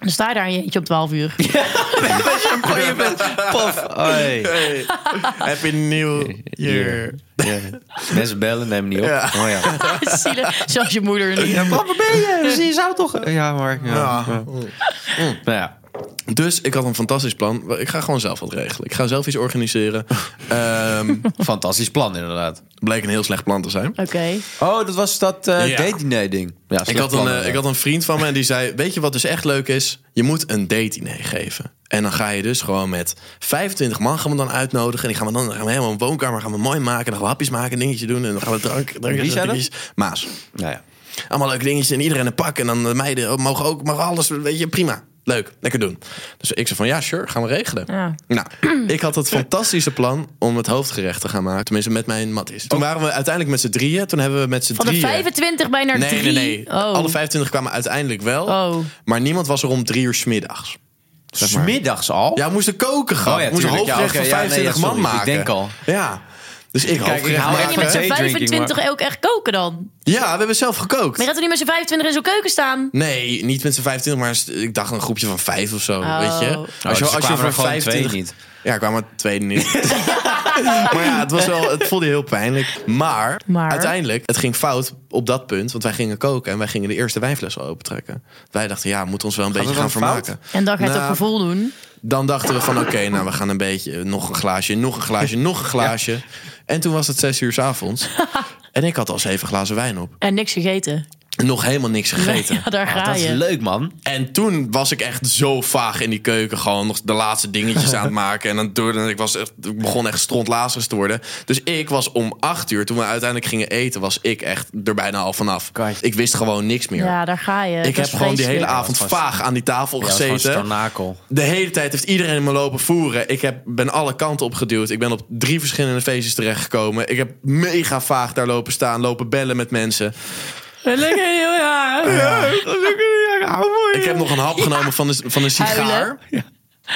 Speaker 3: Dan sta je daar in je eentje om 12 uur.
Speaker 2: Paf. Oei.
Speaker 1: Hey. Happy New Year.
Speaker 2: Ja. Mensen bellen, neem niet op.
Speaker 1: Ja.
Speaker 2: Oh ja.
Speaker 3: Zielig. Zoals je moeder nu.
Speaker 2: Papa, ben je? We zien je zou toch? Ja, maar. Ja.
Speaker 1: Ja.
Speaker 2: Ja. Nou ja.
Speaker 1: Dus ik had een fantastisch plan. Ik ga gewoon zelf wat regelen. Ik ga zelf iets organiseren. Ehm,
Speaker 2: Fantastisch plan, inderdaad.
Speaker 1: bleek een heel slecht plan te zijn.
Speaker 3: Oké.
Speaker 2: Oh, dat was dat eh
Speaker 1: Ja.
Speaker 2: date diner ding. Ja,
Speaker 1: Ik
Speaker 2: slecht
Speaker 1: had, een,
Speaker 2: plan,
Speaker 1: eh, ik had een vriend van me en die zei... Weet je wat dus echt leuk is? Je moet een date-diner geven. En dan ga je dus gewoon met 25 man gaan we dan uitnodigen. En die gaan we dan, dan gaan we helemaal een woonkamer gaan we mooi maken. En dan gaan we hapjes maken, een dingetje doen. En dan gaan we drank... drank
Speaker 2: Wie zei dat?
Speaker 1: dingetjes- Maas.
Speaker 2: Nou ja.
Speaker 1: Allemaal leuke dingetjes en iedereen een pak. En dan de meiden oh, mogen ook, mag alles, weet je, prima. Leuk, lekker doen. Dus ik zei van, ja, sure, gaan we regelen.
Speaker 3: Ja.
Speaker 1: Nou, ik had het fantastische plan om het hoofdgerecht te gaan maken. Tenminste, met mijn matties.
Speaker 2: Oh.
Speaker 1: Toen waren we uiteindelijk met z'n drieën. Toen hebben we met z'n
Speaker 3: Van de
Speaker 1: drieën...
Speaker 3: 25 bij naar
Speaker 1: Nee,
Speaker 3: 3.
Speaker 1: nee, nee.
Speaker 3: Oh.
Speaker 1: Alle 25 kwamen uiteindelijk wel.
Speaker 3: Oh.
Speaker 1: Maar niemand was er om drie uur smiddags. maar.
Speaker 2: Smiddags al?
Speaker 1: Ja, we moesten koken gaan.
Speaker 2: Oh ja,
Speaker 1: we moesten
Speaker 2: tuurlijk. Ja,
Speaker 1: hoofdgerecht
Speaker 2: oké,
Speaker 1: van
Speaker 2: ja, nee,
Speaker 1: 25
Speaker 2: ja,
Speaker 1: man
Speaker 2: sorry.
Speaker 1: maken.
Speaker 2: Ik denk al.
Speaker 1: Ja. Dus ik,
Speaker 2: Kijk, ik
Speaker 1: hoofdgerecht
Speaker 2: hou
Speaker 3: Maar je
Speaker 1: maken.
Speaker 3: met z'n
Speaker 2: Day drinking,
Speaker 3: 25
Speaker 2: maar-
Speaker 3: ook echt koken dan? Maar
Speaker 1: Ja, we hebben zelf gekookt.
Speaker 3: je gaat er niet met z'n 25 in zo'n keuken staan?
Speaker 1: Nee, niet met z'n 25, maar st- ik dacht een groepje van vijf of zo,
Speaker 3: Oh.
Speaker 1: weet je.
Speaker 3: Oh,
Speaker 2: dus er kwamen er gewoon twee niet.
Speaker 1: Ja, kwamen er twee niet. maar ja, het, was wel, het voelde heel pijnlijk. Maar,
Speaker 3: Maar?
Speaker 1: uiteindelijk, het ging fout op dat punt. Want wij gingen koken en wij gingen de eerste wijnfles al opentrekken. Wij dachten, ja, we moeten ons wel een beetje
Speaker 2: het
Speaker 1: gaan
Speaker 2: dan fout?
Speaker 1: vermaken.
Speaker 3: En dan ga je het
Speaker 1: Nou,
Speaker 3: op gevoel doen.
Speaker 1: Dan dachten we van, oké, nou, we gaan een beetje... Nog een glaasje, nog een glaasje, nog een glaasje. En toen was het zes uur 's avonds. en ik had al zeven glazen wijn op.
Speaker 3: En niks gegeten.
Speaker 1: En nog helemaal niks gegeten.
Speaker 3: Ja, daar ga
Speaker 2: Ah, Dat is
Speaker 3: je.
Speaker 2: leuk, man.
Speaker 1: En toen was ik echt zo vaag in die keuken. Gewoon nog de laatste dingetjes aan het maken. En dan door, en ik, was echt, ik begon echt strontlazers te worden. Dus ik was om acht uur, toen we uiteindelijk gingen eten... was ik echt er bijna al vanaf.
Speaker 2: Kijk.
Speaker 1: Ik wist gewoon niks meer.
Speaker 3: Ja, daar ga je.
Speaker 1: ik
Speaker 3: Dat
Speaker 1: heb
Speaker 3: is
Speaker 1: gewoon die hele
Speaker 3: vreselijk.
Speaker 1: avond
Speaker 2: Dat was
Speaker 1: vaag aan die tafel
Speaker 2: Ja, dat is gewoon
Speaker 1: gezeten.
Speaker 2: starnakel.
Speaker 1: De hele tijd heeft iedereen me lopen voeren. Ik heb, ben alle kanten opgeduwd. Ik ben op drie verschillende feestjes terechtgekomen. Ik heb mega vaag daar lopen staan, lopen bellen met mensen.
Speaker 3: Lekker heel ja.
Speaker 1: Ik heb nog een hap genomen van, de, van een sigaar.
Speaker 3: Huilen.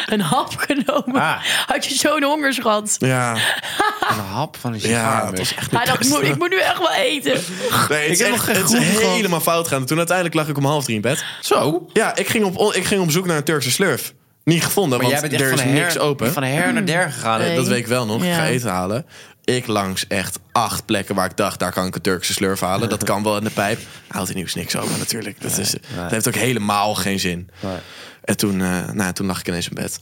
Speaker 3: Een hap genomen.
Speaker 2: Ah.
Speaker 3: Had je zo'n hongerschat.
Speaker 1: Ja,
Speaker 2: Een hap van een
Speaker 1: ja,
Speaker 2: sigaar.
Speaker 1: het was echt
Speaker 3: Hij dacht, moet, ik moet nu echt wel eten.
Speaker 1: Nee, het is,
Speaker 2: Ik heb
Speaker 1: echt-
Speaker 2: nog geen
Speaker 1: het is
Speaker 2: groen gehad.
Speaker 1: helemaal fout gaan. Toen uiteindelijk lag ik om half drie in bed.
Speaker 2: Zo.
Speaker 1: Ja, ik ging op, ik ging op zoek naar een Turkse slurf. Niet gevonden,
Speaker 2: Maar jij
Speaker 1: want
Speaker 2: bent echt
Speaker 1: er is
Speaker 2: van her,
Speaker 1: niks open.
Speaker 2: Van her naar der gegaan.
Speaker 3: Nee.
Speaker 1: Dat weet ik wel nog. Ik
Speaker 3: Ja.
Speaker 1: ga eten halen. Ik langs echt acht plekken waar ik dacht... daar kan ik een Turkse slurf halen. Dat kan wel in de pijp. Houdt in nieuws niks open natuurlijk. Dat, is, dat heeft ook helemaal geen zin. En toen, eh, nou, toen lag ik ineens in bed.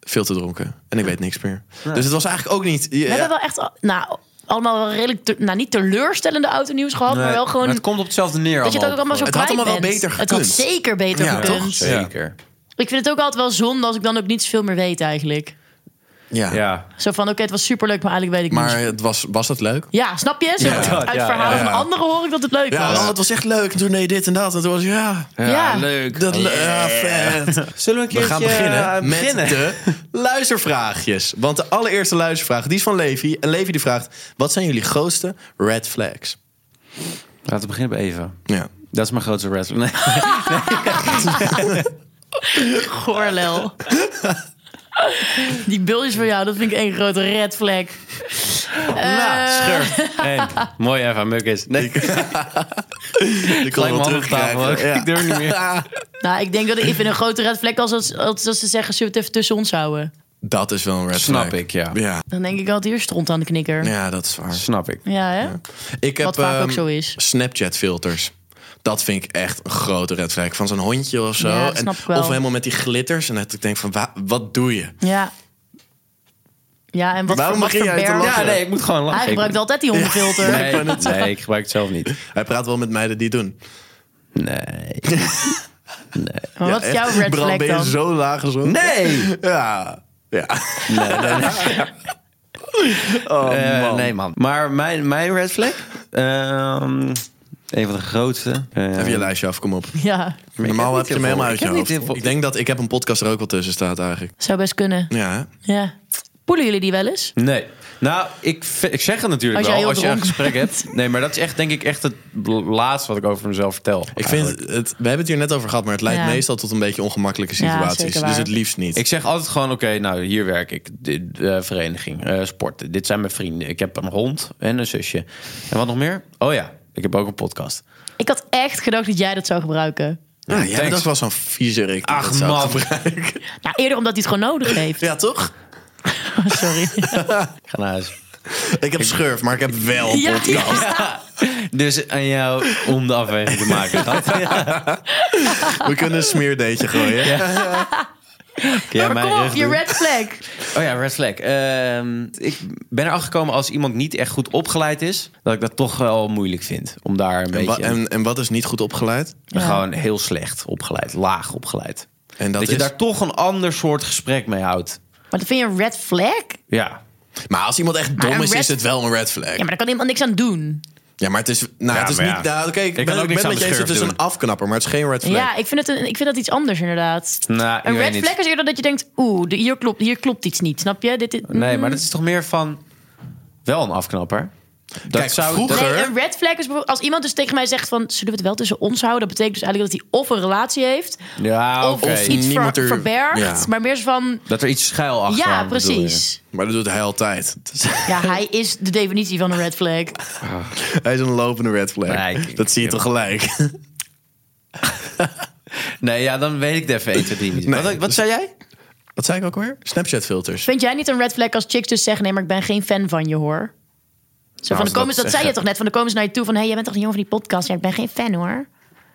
Speaker 1: Veel te dronken. En ik weet niks meer. Dus het was eigenlijk ook niet...
Speaker 3: We hebben wel echt... al- Nou, allemaal wel redelijk... te- nou, niet teleurstellende autonieuws gehad. maar wel gewoon...
Speaker 2: het komt op hetzelfde neer.
Speaker 3: dat je het ook allemaal zo
Speaker 1: Het
Speaker 3: kwijt
Speaker 1: had allemaal wel
Speaker 3: bent.
Speaker 1: beter
Speaker 3: Het had
Speaker 1: gekund.
Speaker 3: zeker beter
Speaker 1: Ja,
Speaker 3: gekund.
Speaker 1: toch?
Speaker 2: Zeker.
Speaker 3: Ik vind het ook altijd wel zonde als ik dan ook niet zoveel meer weet eigenlijk.
Speaker 1: ja.
Speaker 2: Ja.
Speaker 3: Zo van, oké, het was superleuk, maar eigenlijk weet ik
Speaker 1: Maar
Speaker 3: niet.
Speaker 1: het was, was dat leuk?
Speaker 3: Ja, snap je? Zo
Speaker 2: Ja,
Speaker 3: uit
Speaker 2: dat, ja,
Speaker 3: verhalen
Speaker 1: ja, ja.
Speaker 3: van anderen hoor ik dat het leuk
Speaker 1: Ja,
Speaker 3: was.
Speaker 1: oh, het was echt leuk. En toen deed je dit en dat. En toen was ik, ja...
Speaker 2: Ja,
Speaker 3: Ja.
Speaker 2: leuk.
Speaker 1: Dat, ja, vet.
Speaker 2: Zullen we een
Speaker 1: We
Speaker 2: keertje
Speaker 1: gaan beginnen
Speaker 2: eh,
Speaker 1: met
Speaker 2: beginnen?
Speaker 1: de luistervraagjes. Want de allereerste luistervraag, die is van Levi. En Levi die vraagt, wat zijn jullie grootste red flags?
Speaker 2: Laten we beginnen bij Eva.
Speaker 1: Ja.
Speaker 2: Dat is mijn grootste wrestler. Nee.
Speaker 3: Goorlel. Die bultjes voor jou, dat vind ik één grote red flag. Eh.
Speaker 1: Nou,
Speaker 2: scherp. Hey, mooi Eva, muk is. Nee,
Speaker 1: Ik
Speaker 2: gelijk mijn handen op tafel. ook. Ik durf niet meer.
Speaker 3: Nou, ik denk dat ik ik vind een grote red flag als, als, als, als ze zeggen, zullen we het even tussen ons houden?
Speaker 1: Dat is wel een red
Speaker 2: Snap
Speaker 1: flag.
Speaker 2: ik, ja.
Speaker 1: ja.
Speaker 3: Dan denk ik altijd, hier stront aan de knikker. Ja,
Speaker 1: Ja, dat is waar.
Speaker 2: Snap ik.
Speaker 3: hè?
Speaker 1: Ik heb
Speaker 3: Wat vaak ook
Speaker 1: ehm,
Speaker 3: zo is.
Speaker 1: Snapchat filters. Dat vind ik echt een grote red flag. Van zo'n hondje of zo.
Speaker 3: Ja, dat
Speaker 1: en,
Speaker 3: snap ik wel.
Speaker 1: Of helemaal met die glitters. En dat ik denk van, wa- wat doe je?
Speaker 3: Ja. Ja, en wat,
Speaker 1: Waarom
Speaker 3: voor- wat
Speaker 1: begin
Speaker 3: voor
Speaker 1: jij te
Speaker 3: berg-
Speaker 1: lachen?
Speaker 2: Ja, Ah, nee, ik moet gewoon lachen.
Speaker 3: Hij
Speaker 2: Ik-
Speaker 3: gebruikt altijd die hondenfilter.
Speaker 1: Ik
Speaker 2: Nee,
Speaker 1: wou net
Speaker 2: nee, ik gebruik het zelf niet.
Speaker 1: Hij praat wel met meiden die het doen.
Speaker 2: Nee.
Speaker 3: Maar wat is jouw
Speaker 1: echt.
Speaker 3: red
Speaker 1: Bram,
Speaker 3: flag
Speaker 1: ben je
Speaker 3: dan?
Speaker 1: zo laag gezond?
Speaker 2: Nee!
Speaker 1: Ja. Ja.
Speaker 2: Nee, nee, nee.
Speaker 1: Oh,
Speaker 2: Eh,
Speaker 1: man.
Speaker 2: Oh, nee, man. Maar mijn, mijn red flag? Ehm, Een van de grootste. Eh,
Speaker 1: Even je lijstje af, kom op.
Speaker 3: Ja,
Speaker 1: Normaal heb
Speaker 2: niet
Speaker 1: je hem
Speaker 2: heel
Speaker 1: helemaal
Speaker 2: veel.
Speaker 1: uit
Speaker 2: Ik
Speaker 1: je
Speaker 2: heb niet
Speaker 1: hoofd.
Speaker 2: heel veel.
Speaker 1: Ik denk dat ik heb een podcast er ook wel tussen staat eigenlijk.
Speaker 3: zou best kunnen.
Speaker 1: Ja, hè?
Speaker 3: Ja. Poelen jullie die wel eens?
Speaker 2: Nee. Nou, ik, v- ik zeg het natuurlijk
Speaker 3: Als jij
Speaker 2: wel
Speaker 3: heel
Speaker 2: als je een
Speaker 3: dronken
Speaker 2: gesprek hebt. Nee, maar dat is echt, denk ik, echt het laatste wat ik over mezelf vertel.
Speaker 1: ik vind
Speaker 2: eigenlijk.
Speaker 1: het, we hebben het hier net over gehad, maar het leidt
Speaker 3: Ja.
Speaker 1: meestal tot een beetje ongemakkelijke
Speaker 3: Ja,
Speaker 1: situaties.
Speaker 3: zeker waar.
Speaker 1: dus het liefst niet.
Speaker 2: Ik zeg altijd gewoon, oké, nou, hier werk ik. Dit, eh, vereniging, eh, sporten. Dit zijn mijn vrienden. Ik heb een hond en een zusje. En wat nog meer? Oh ja, ik heb ook een podcast.
Speaker 3: Ik had echt gedacht dat jij dat zou gebruiken.
Speaker 1: ja, jij bent
Speaker 2: thanks.
Speaker 1: ook wel zo'n viezerik. die dat
Speaker 2: Ach
Speaker 1: zou
Speaker 2: man,
Speaker 1: gebruiken.
Speaker 3: Nou, eerder omdat hij het gewoon nodig heeft.
Speaker 1: Ja, toch?
Speaker 3: Sorry.
Speaker 2: ik ga naar huis.
Speaker 1: Ik heb schurf, maar ik heb wel een
Speaker 3: Ja,
Speaker 1: podcast.
Speaker 2: Dus aan jou om de afweging te maken. Gaat.
Speaker 1: We kunnen een smeerdeetje gooien.
Speaker 2: Kun jij
Speaker 3: maar
Speaker 2: mijn
Speaker 3: kom op,
Speaker 2: rug
Speaker 3: je
Speaker 2: doen?
Speaker 3: red flag.
Speaker 2: Oh ja, red flag. Ehm, ik ben erachter gekomen als iemand niet echt goed opgeleid is... dat ik dat toch wel moeilijk vind. Om daar een
Speaker 1: En, wa-
Speaker 2: beetje...
Speaker 1: en, en wat is niet goed opgeleid?
Speaker 3: Ja.
Speaker 2: Gewoon heel slecht opgeleid. Laag opgeleid.
Speaker 1: En dat
Speaker 2: Dat, je
Speaker 1: is-
Speaker 2: daar toch een ander soort gesprek mee houdt.
Speaker 3: Maar dat vind je een red flag?
Speaker 2: Ja.
Speaker 1: Maar als iemand echt dom
Speaker 3: een
Speaker 1: is,
Speaker 3: red-
Speaker 1: is het wel een red flag.
Speaker 3: Ja, maar daar kan iemand niks aan doen.
Speaker 1: Ja, maar het is, nou,
Speaker 2: Ja,
Speaker 1: het is
Speaker 2: maar ja.
Speaker 1: niet... Nou, oké, ik
Speaker 2: kan
Speaker 1: ben,
Speaker 2: ook
Speaker 1: ik
Speaker 2: niks
Speaker 1: ben
Speaker 2: aan
Speaker 1: met
Speaker 2: de
Speaker 1: je eens,
Speaker 2: schurf
Speaker 1: het is een
Speaker 2: doen.
Speaker 1: afknapper, maar het is geen red flag.
Speaker 3: Ja, ik vind, het een, ik vind dat iets anders inderdaad.
Speaker 2: Nou, ik
Speaker 3: een
Speaker 2: weet
Speaker 3: red
Speaker 2: niet.
Speaker 3: flag is eerder dat je denkt... Oeh, de- hier klopt, hier klopt iets niet, snap je? Dit, is- Hmm.
Speaker 2: Nee, maar dat is toch meer van... Wel een afknapper. Dat
Speaker 1: Kijk, vroeger-
Speaker 3: Nee, een red flag is bijvoorbeeld... Als iemand dus tegen mij zegt van... Zullen we het wel tussen ons houden? Dat betekent dus eigenlijk dat hij of een relatie heeft...
Speaker 2: Ja,
Speaker 3: Of
Speaker 2: Ah, oké.
Speaker 3: iets ver,
Speaker 1: niemand er-
Speaker 3: verbergt.
Speaker 1: Ja.
Speaker 3: Maar meer zo van...
Speaker 2: Dat er iets schuil achter
Speaker 3: Ja,
Speaker 2: hangt, bedoel je?
Speaker 3: precies.
Speaker 1: Maar dat doet hij altijd. Dus Het is-
Speaker 3: Ja, hij is de definitie van een red flag.
Speaker 1: hij is een lopende red flag.
Speaker 2: Nee, ik-
Speaker 1: dat zie je toch gelijk.
Speaker 2: Nee, ja, dan weet ik de even 1, 2, 3 niet.
Speaker 1: Nee.
Speaker 2: Wat, wat zei jij?
Speaker 1: Wat zei ik ook weer? Snapchat filters.
Speaker 3: Vind jij niet een red flag als chicks dus zeggen... nee, maar ik ben geen fan van je, hoor? Zo van,
Speaker 2: Nou, als
Speaker 3: de komen,
Speaker 2: ze
Speaker 3: ze-
Speaker 2: dat
Speaker 3: dat zei je
Speaker 2: zeggen.
Speaker 3: toch net, van de komen ze naar je toe van... hé, hey, jij bent toch een jongen van die podcast? Ja, ik ben geen fan, hoor.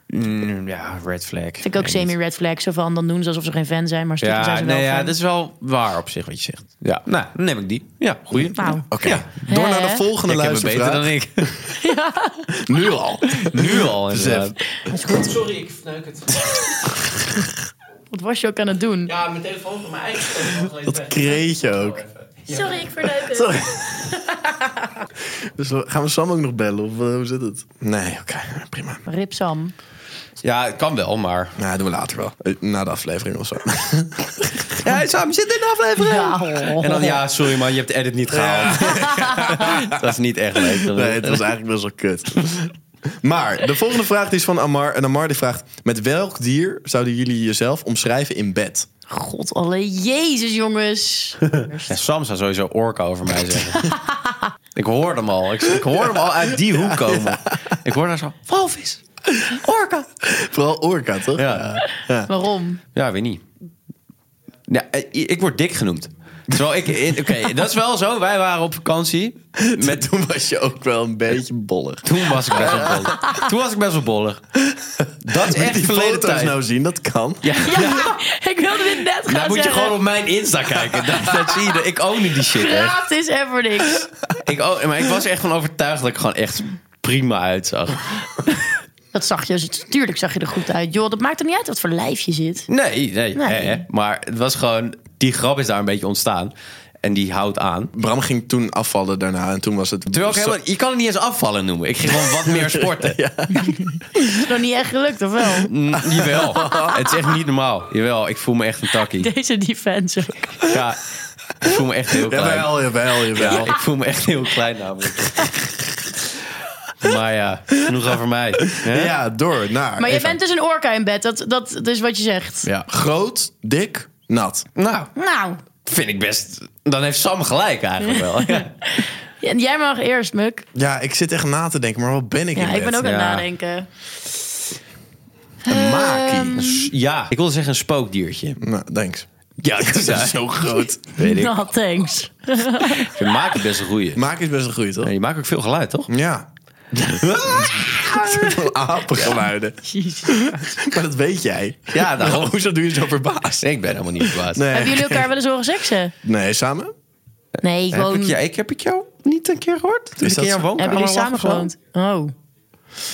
Speaker 2: Mm, Ja, red flag.
Speaker 3: Vind ik ook
Speaker 2: Nee, niet.
Speaker 3: semi-red flag. Zo van, dan doen ze alsof ze geen fan zijn, maar stiekem zijn
Speaker 2: Ja,
Speaker 3: ze wel
Speaker 2: nee, ja, dus-
Speaker 3: fan.
Speaker 2: dat is wel waar op zich wat je zegt. Ja, nou, dan neem ik die. Ja, goeie.
Speaker 3: Nou,
Speaker 1: Oké,
Speaker 2: Ja.
Speaker 1: door naar de
Speaker 3: Hè?
Speaker 1: volgende
Speaker 2: Ik heb het beter dan
Speaker 1: luistervraag.
Speaker 2: ik.
Speaker 1: Nu al.
Speaker 2: nu al,
Speaker 1: Besef.
Speaker 2: inderdaad.
Speaker 3: dat is goed.
Speaker 2: Sorry, ik fnuik het.
Speaker 3: Wat was je ook aan het doen?
Speaker 2: Ja, mijn telefoon van mijn eigen telefoon.
Speaker 1: Dat kreeg je ook.
Speaker 3: Sorry, ik verleuk het.
Speaker 1: Dus we- gaan we Sam ook nog bellen? Of eh, hoe zit het? Nee, oké, prima.
Speaker 3: Rip Sam.
Speaker 2: Ja, het kan wel, maar...
Speaker 1: Nou, doen we later wel. Eh, Na de aflevering of zo.
Speaker 2: Ja, Sam, zit in de aflevering.
Speaker 3: Ja.
Speaker 2: En dan, ja, sorry man, je hebt de edit niet gehaald. dat is niet echt leuk.
Speaker 1: Nee, het was eigenlijk best wel kut. Maar de volgende vraag die is van Amar. En Amar die vraagt... Met welk dier zouden jullie jezelf omschrijven in bed?
Speaker 3: God, alle jezus, jongens.
Speaker 2: Ja, Sam zou sowieso orka over mij zeggen. ik hoorde hem al. Ik, ik hoorde hem al uit die hoek komen. Ik hoorde haar zo, walvis, orka.
Speaker 1: Vooral orka, toch?
Speaker 2: Ja,
Speaker 3: Waarom?
Speaker 2: ja weet niet. Ja, eh, ik word dik genoemd. Terwijl ik, in- oké, dat is wel zo. Wij waren op vakantie.
Speaker 1: Met toen was je ook wel een beetje bollig.
Speaker 2: Toen was ik best wel bollig. Toen was ik best wel bollig. Dat is echt
Speaker 1: Die
Speaker 2: verleden
Speaker 1: foto's
Speaker 2: tijd.
Speaker 1: nou zien, dat kan.
Speaker 2: Ja,
Speaker 3: Ja, ik wilde dit net gaan
Speaker 2: dan moet je
Speaker 3: zeggen.
Speaker 2: gewoon op mijn Insta kijken. Dat, dat zie je. dat- Ik own die shit echt.
Speaker 3: Gratis en voor niks.
Speaker 2: Ik own- maar ik was er echt van overtuigd dat ik gewoon echt prima uitzag.
Speaker 3: Dat zag je, dus tuurlijk zag je er goed uit. Joh, dat maakt er niet uit wat voor lijf je zit.
Speaker 2: Nee, nee.
Speaker 3: Nee.
Speaker 2: hè, hè. maar het was gewoon... Die grap is daar een beetje ontstaan. En die houdt aan.
Speaker 1: Bram ging toen afvallen daarna en toen was het...
Speaker 2: Terwijl ik
Speaker 1: zo-
Speaker 2: helemaal, je kan het niet eens afvallen noemen. Ik ging gewoon wat meer sporten.
Speaker 3: Is het nog niet echt gelukt, of wel?
Speaker 2: Mm, jawel. Het is echt niet normaal. Jawel, ik voel me echt een takkie.
Speaker 3: Deze defense ook.
Speaker 2: Ja, ik voel me echt heel klein.
Speaker 1: Jawel, jawel,
Speaker 2: Ja,
Speaker 1: jawel.
Speaker 2: ik voel me echt heel klein namelijk. Maar ja, genoeg over mij. hè?
Speaker 1: Ja, door naar...
Speaker 3: Maar je
Speaker 1: Eva.
Speaker 3: bent dus een orka in bed, dat, dat, dat is wat je zegt.
Speaker 2: Ja.
Speaker 1: Groot, dik, nat.
Speaker 2: Nou,
Speaker 3: Nou,
Speaker 2: vind ik best... Dan heeft Sam gelijk eigenlijk wel. Ja.
Speaker 3: en jij mag eerst, Muk.
Speaker 1: Ja, ik zit echt na te denken, maar wat ben ik
Speaker 3: Ja,
Speaker 1: in
Speaker 3: ik
Speaker 1: bed?
Speaker 3: ben ook aan het
Speaker 2: Ja.
Speaker 3: nadenken.
Speaker 1: Een
Speaker 3: Ehm.
Speaker 1: maakie.
Speaker 2: Ja, ik wilde zeggen een spookdiertje.
Speaker 1: Nou, thanks.
Speaker 2: Ja, dat
Speaker 1: Dat is zo groot.
Speaker 2: Weet ik.
Speaker 3: Nou, thanks.
Speaker 2: Je maakt het best een goeie.
Speaker 1: Maak is best een goeie, toch?
Speaker 2: Ja, Je maakt ook veel geluid, toch?
Speaker 1: Ja. Apengeluiden.
Speaker 3: Jezus.
Speaker 1: Maar dat weet jij.
Speaker 2: Ja, daarom.
Speaker 1: Hoezo doe je zo verbaasd?
Speaker 2: Ik ben helemaal niet verbaasd.
Speaker 3: Hebben
Speaker 1: Nee,
Speaker 3: jullie elkaar wel eens horen seksen?
Speaker 1: nee samen?
Speaker 3: Nee,
Speaker 2: Heb
Speaker 3: gewoon...
Speaker 2: ik, ja, ik, heb ik jou niet een keer gehoord? Toen
Speaker 1: Is
Speaker 2: ik in
Speaker 1: dat
Speaker 2: jouw
Speaker 1: zo?
Speaker 2: woonkamer
Speaker 3: Hebben jullie
Speaker 2: lag
Speaker 3: samen
Speaker 2: of zo?
Speaker 3: gewoond? Oh.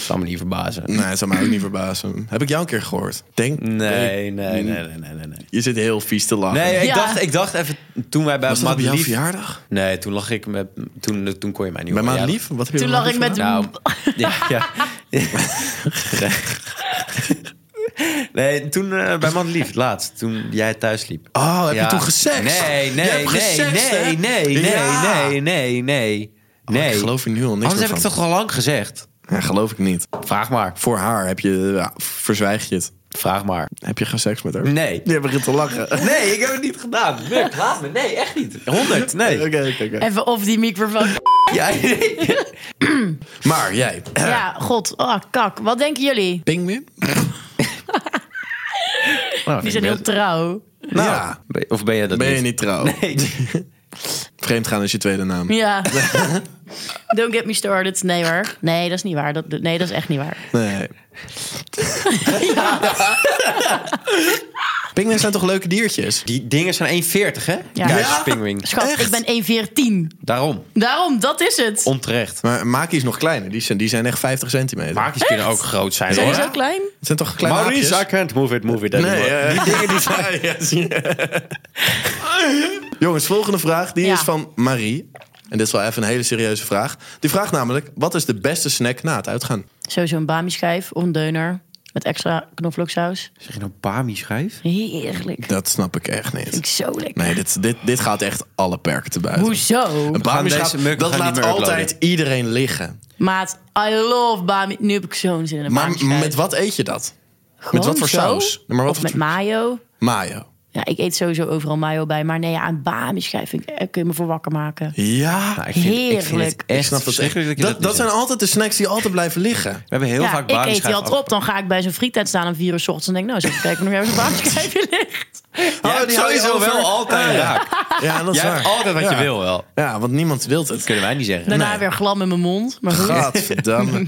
Speaker 2: Zal me niet verbazen.
Speaker 1: Nee, dat zou mij ook niet verbazen. Heb ik jou een keer gehoord? Denk,
Speaker 2: Nee, nee, nee, nee, nee, nee. Nee,
Speaker 1: Je zit heel vies te lachen.
Speaker 2: nee ik,
Speaker 3: Ja.
Speaker 2: dacht, ik dacht even toen wij bij
Speaker 1: Was dat op jouw
Speaker 2: Madelief-
Speaker 1: verjaardag?
Speaker 2: Nee, toen lag ik met... Toen, toen kon je mij niet
Speaker 1: Bij
Speaker 2: horen.
Speaker 1: Maat Lief? Wat heb je
Speaker 3: Toen
Speaker 1: bij
Speaker 3: lag
Speaker 1: Maat
Speaker 3: ik
Speaker 1: Lief gedaan?
Speaker 3: met-
Speaker 2: Nou, ja, ja. Nee, toen eh, bij Madelief, het laatst. Toen jij thuis liep.
Speaker 1: Oh, heb
Speaker 2: Ja.
Speaker 1: je toen gesext?
Speaker 2: Nee, nee,
Speaker 1: Je hebt
Speaker 2: nee,
Speaker 1: gesext, hè?
Speaker 2: nee, nee, nee,
Speaker 1: Ja.
Speaker 2: nee, nee, nee.
Speaker 1: Nee.
Speaker 2: nee.
Speaker 1: ik geloof er nu al niks
Speaker 2: Anders
Speaker 1: meer
Speaker 2: heb ik
Speaker 1: van.
Speaker 2: toch al lang gezegd.
Speaker 1: Ja, geloof ik niet.
Speaker 2: Vraag maar,
Speaker 1: Voor haar heb je, ja, verzwijg je het.
Speaker 2: vraag maar.
Speaker 1: Heb je geen seks met haar?
Speaker 2: Nee.
Speaker 1: Je begint te lachen.
Speaker 2: Nee, ik heb het niet gedaan. Muk, laat me. Nee, echt niet. 100, nee.
Speaker 1: Oké, oké, oké.
Speaker 3: Even of die microfoon.
Speaker 2: Ja, nee.
Speaker 1: Maar jij,
Speaker 3: Ja, god. Oh, kak. Wat denken jullie?
Speaker 1: pingwin?
Speaker 3: Die zijn heel trouw.
Speaker 1: Nou,
Speaker 2: Ben- Of ben jij dat
Speaker 1: ben je
Speaker 2: niet?
Speaker 1: niet trouw?
Speaker 2: Nee.
Speaker 1: Vreemd gaan is je tweede naam.
Speaker 3: Ja. Don't get me started. Nee hoor. Nee, dat is niet waar. Dat, nee, dat is echt niet waar.
Speaker 1: Nee. Pinguïns zijn toch leuke diertjes?
Speaker 2: Die dingen zijn 1,40, hè?
Speaker 3: Ja.
Speaker 1: Ja.
Speaker 2: Pingwing.
Speaker 3: Schat,
Speaker 1: Echt?
Speaker 3: ik ben 1,14.
Speaker 2: Daarom,
Speaker 3: Daarom, dat is het.
Speaker 2: onterecht.
Speaker 1: Maar Maki is nog kleiner. Die zijn, die zijn echt 50 centimeter.
Speaker 2: Maakjes kunnen ook groot zijn,
Speaker 3: Zijn
Speaker 2: hoor.
Speaker 3: ze zo klein?
Speaker 1: Het zijn toch kleine
Speaker 2: Maurice, I
Speaker 1: haakjes?
Speaker 2: can't move it, move it.
Speaker 1: Nee,
Speaker 2: anymore.
Speaker 1: eh.
Speaker 2: Die dingen die zijn...
Speaker 1: Ja, ja, zie je. Jongens, volgende vraag. Die
Speaker 3: Ja.
Speaker 1: is van Marie. En dit is wel even een hele serieuze vraag. Die vraagt namelijk, wat is de beste snack na het uitgaan?
Speaker 3: Sowieso een bami-schijf of een deuner. Met extra knoflooksaus.
Speaker 2: Zeg je nou Bami-schijf?
Speaker 3: Heerlijk.
Speaker 1: Dat snap ik echt niet.
Speaker 3: Vind ik zo lekker.
Speaker 1: Nee, dit, dit, dit gaat echt alle perken te buiten.
Speaker 3: Hoezo?
Speaker 1: Een bami
Speaker 2: We gaan
Speaker 1: gaat-
Speaker 2: deze muk- we
Speaker 1: dat
Speaker 2: gaan niet
Speaker 1: laat
Speaker 2: meer uploaden.
Speaker 1: altijd iedereen liggen.
Speaker 3: Maat, I love bami. Nu heb ik zo'n zin in een
Speaker 1: Maar
Speaker 3: bami-schijf.
Speaker 1: met wat eet je dat?
Speaker 3: Gewoon
Speaker 1: met wat voor
Speaker 3: zo?
Speaker 1: saus? Maar wat
Speaker 3: of
Speaker 1: voor-
Speaker 3: met mayo.
Speaker 1: Mayo.
Speaker 3: Ja, ik eet sowieso overal mayo bij. Maar nee, ja, een bami-schijf vind ik- eh, kun je me voor wakker maken.
Speaker 1: Ja.
Speaker 2: Nou, ik vind, Ik vind
Speaker 3: Heerlijk.
Speaker 2: het echt
Speaker 1: ik snap dat echt.
Speaker 2: verschrikkelijk
Speaker 1: Dat,
Speaker 2: je
Speaker 1: dat,
Speaker 2: niet
Speaker 1: zijn
Speaker 2: zegt.
Speaker 1: altijd de snacks die altijd blijven liggen.
Speaker 2: We hebben heel
Speaker 3: ja,
Speaker 2: vaak
Speaker 3: ik eet die
Speaker 2: Bami-schijf
Speaker 3: altijd op. Dan ga ik bij zo'n friettent staan om vier uur 's ochtends. En denk nou, eens even kijken of er zo'n bami-schijf in ligt.
Speaker 2: Jij
Speaker 1: Oh,
Speaker 2: hebt
Speaker 1: die hou je
Speaker 2: sowieso
Speaker 1: over.
Speaker 2: wel altijd raak.
Speaker 1: Ja, dat is
Speaker 2: Jij
Speaker 1: waar.
Speaker 2: hebt altijd wat
Speaker 1: ja.
Speaker 2: je wil wel.
Speaker 1: Ja, want niemand wil
Speaker 2: Dat
Speaker 1: het.
Speaker 2: kunnen wij niet zeggen.
Speaker 3: Daarna
Speaker 1: Nee.
Speaker 3: weer glam in mijn mond. Maar goed.
Speaker 1: Gadverdamme.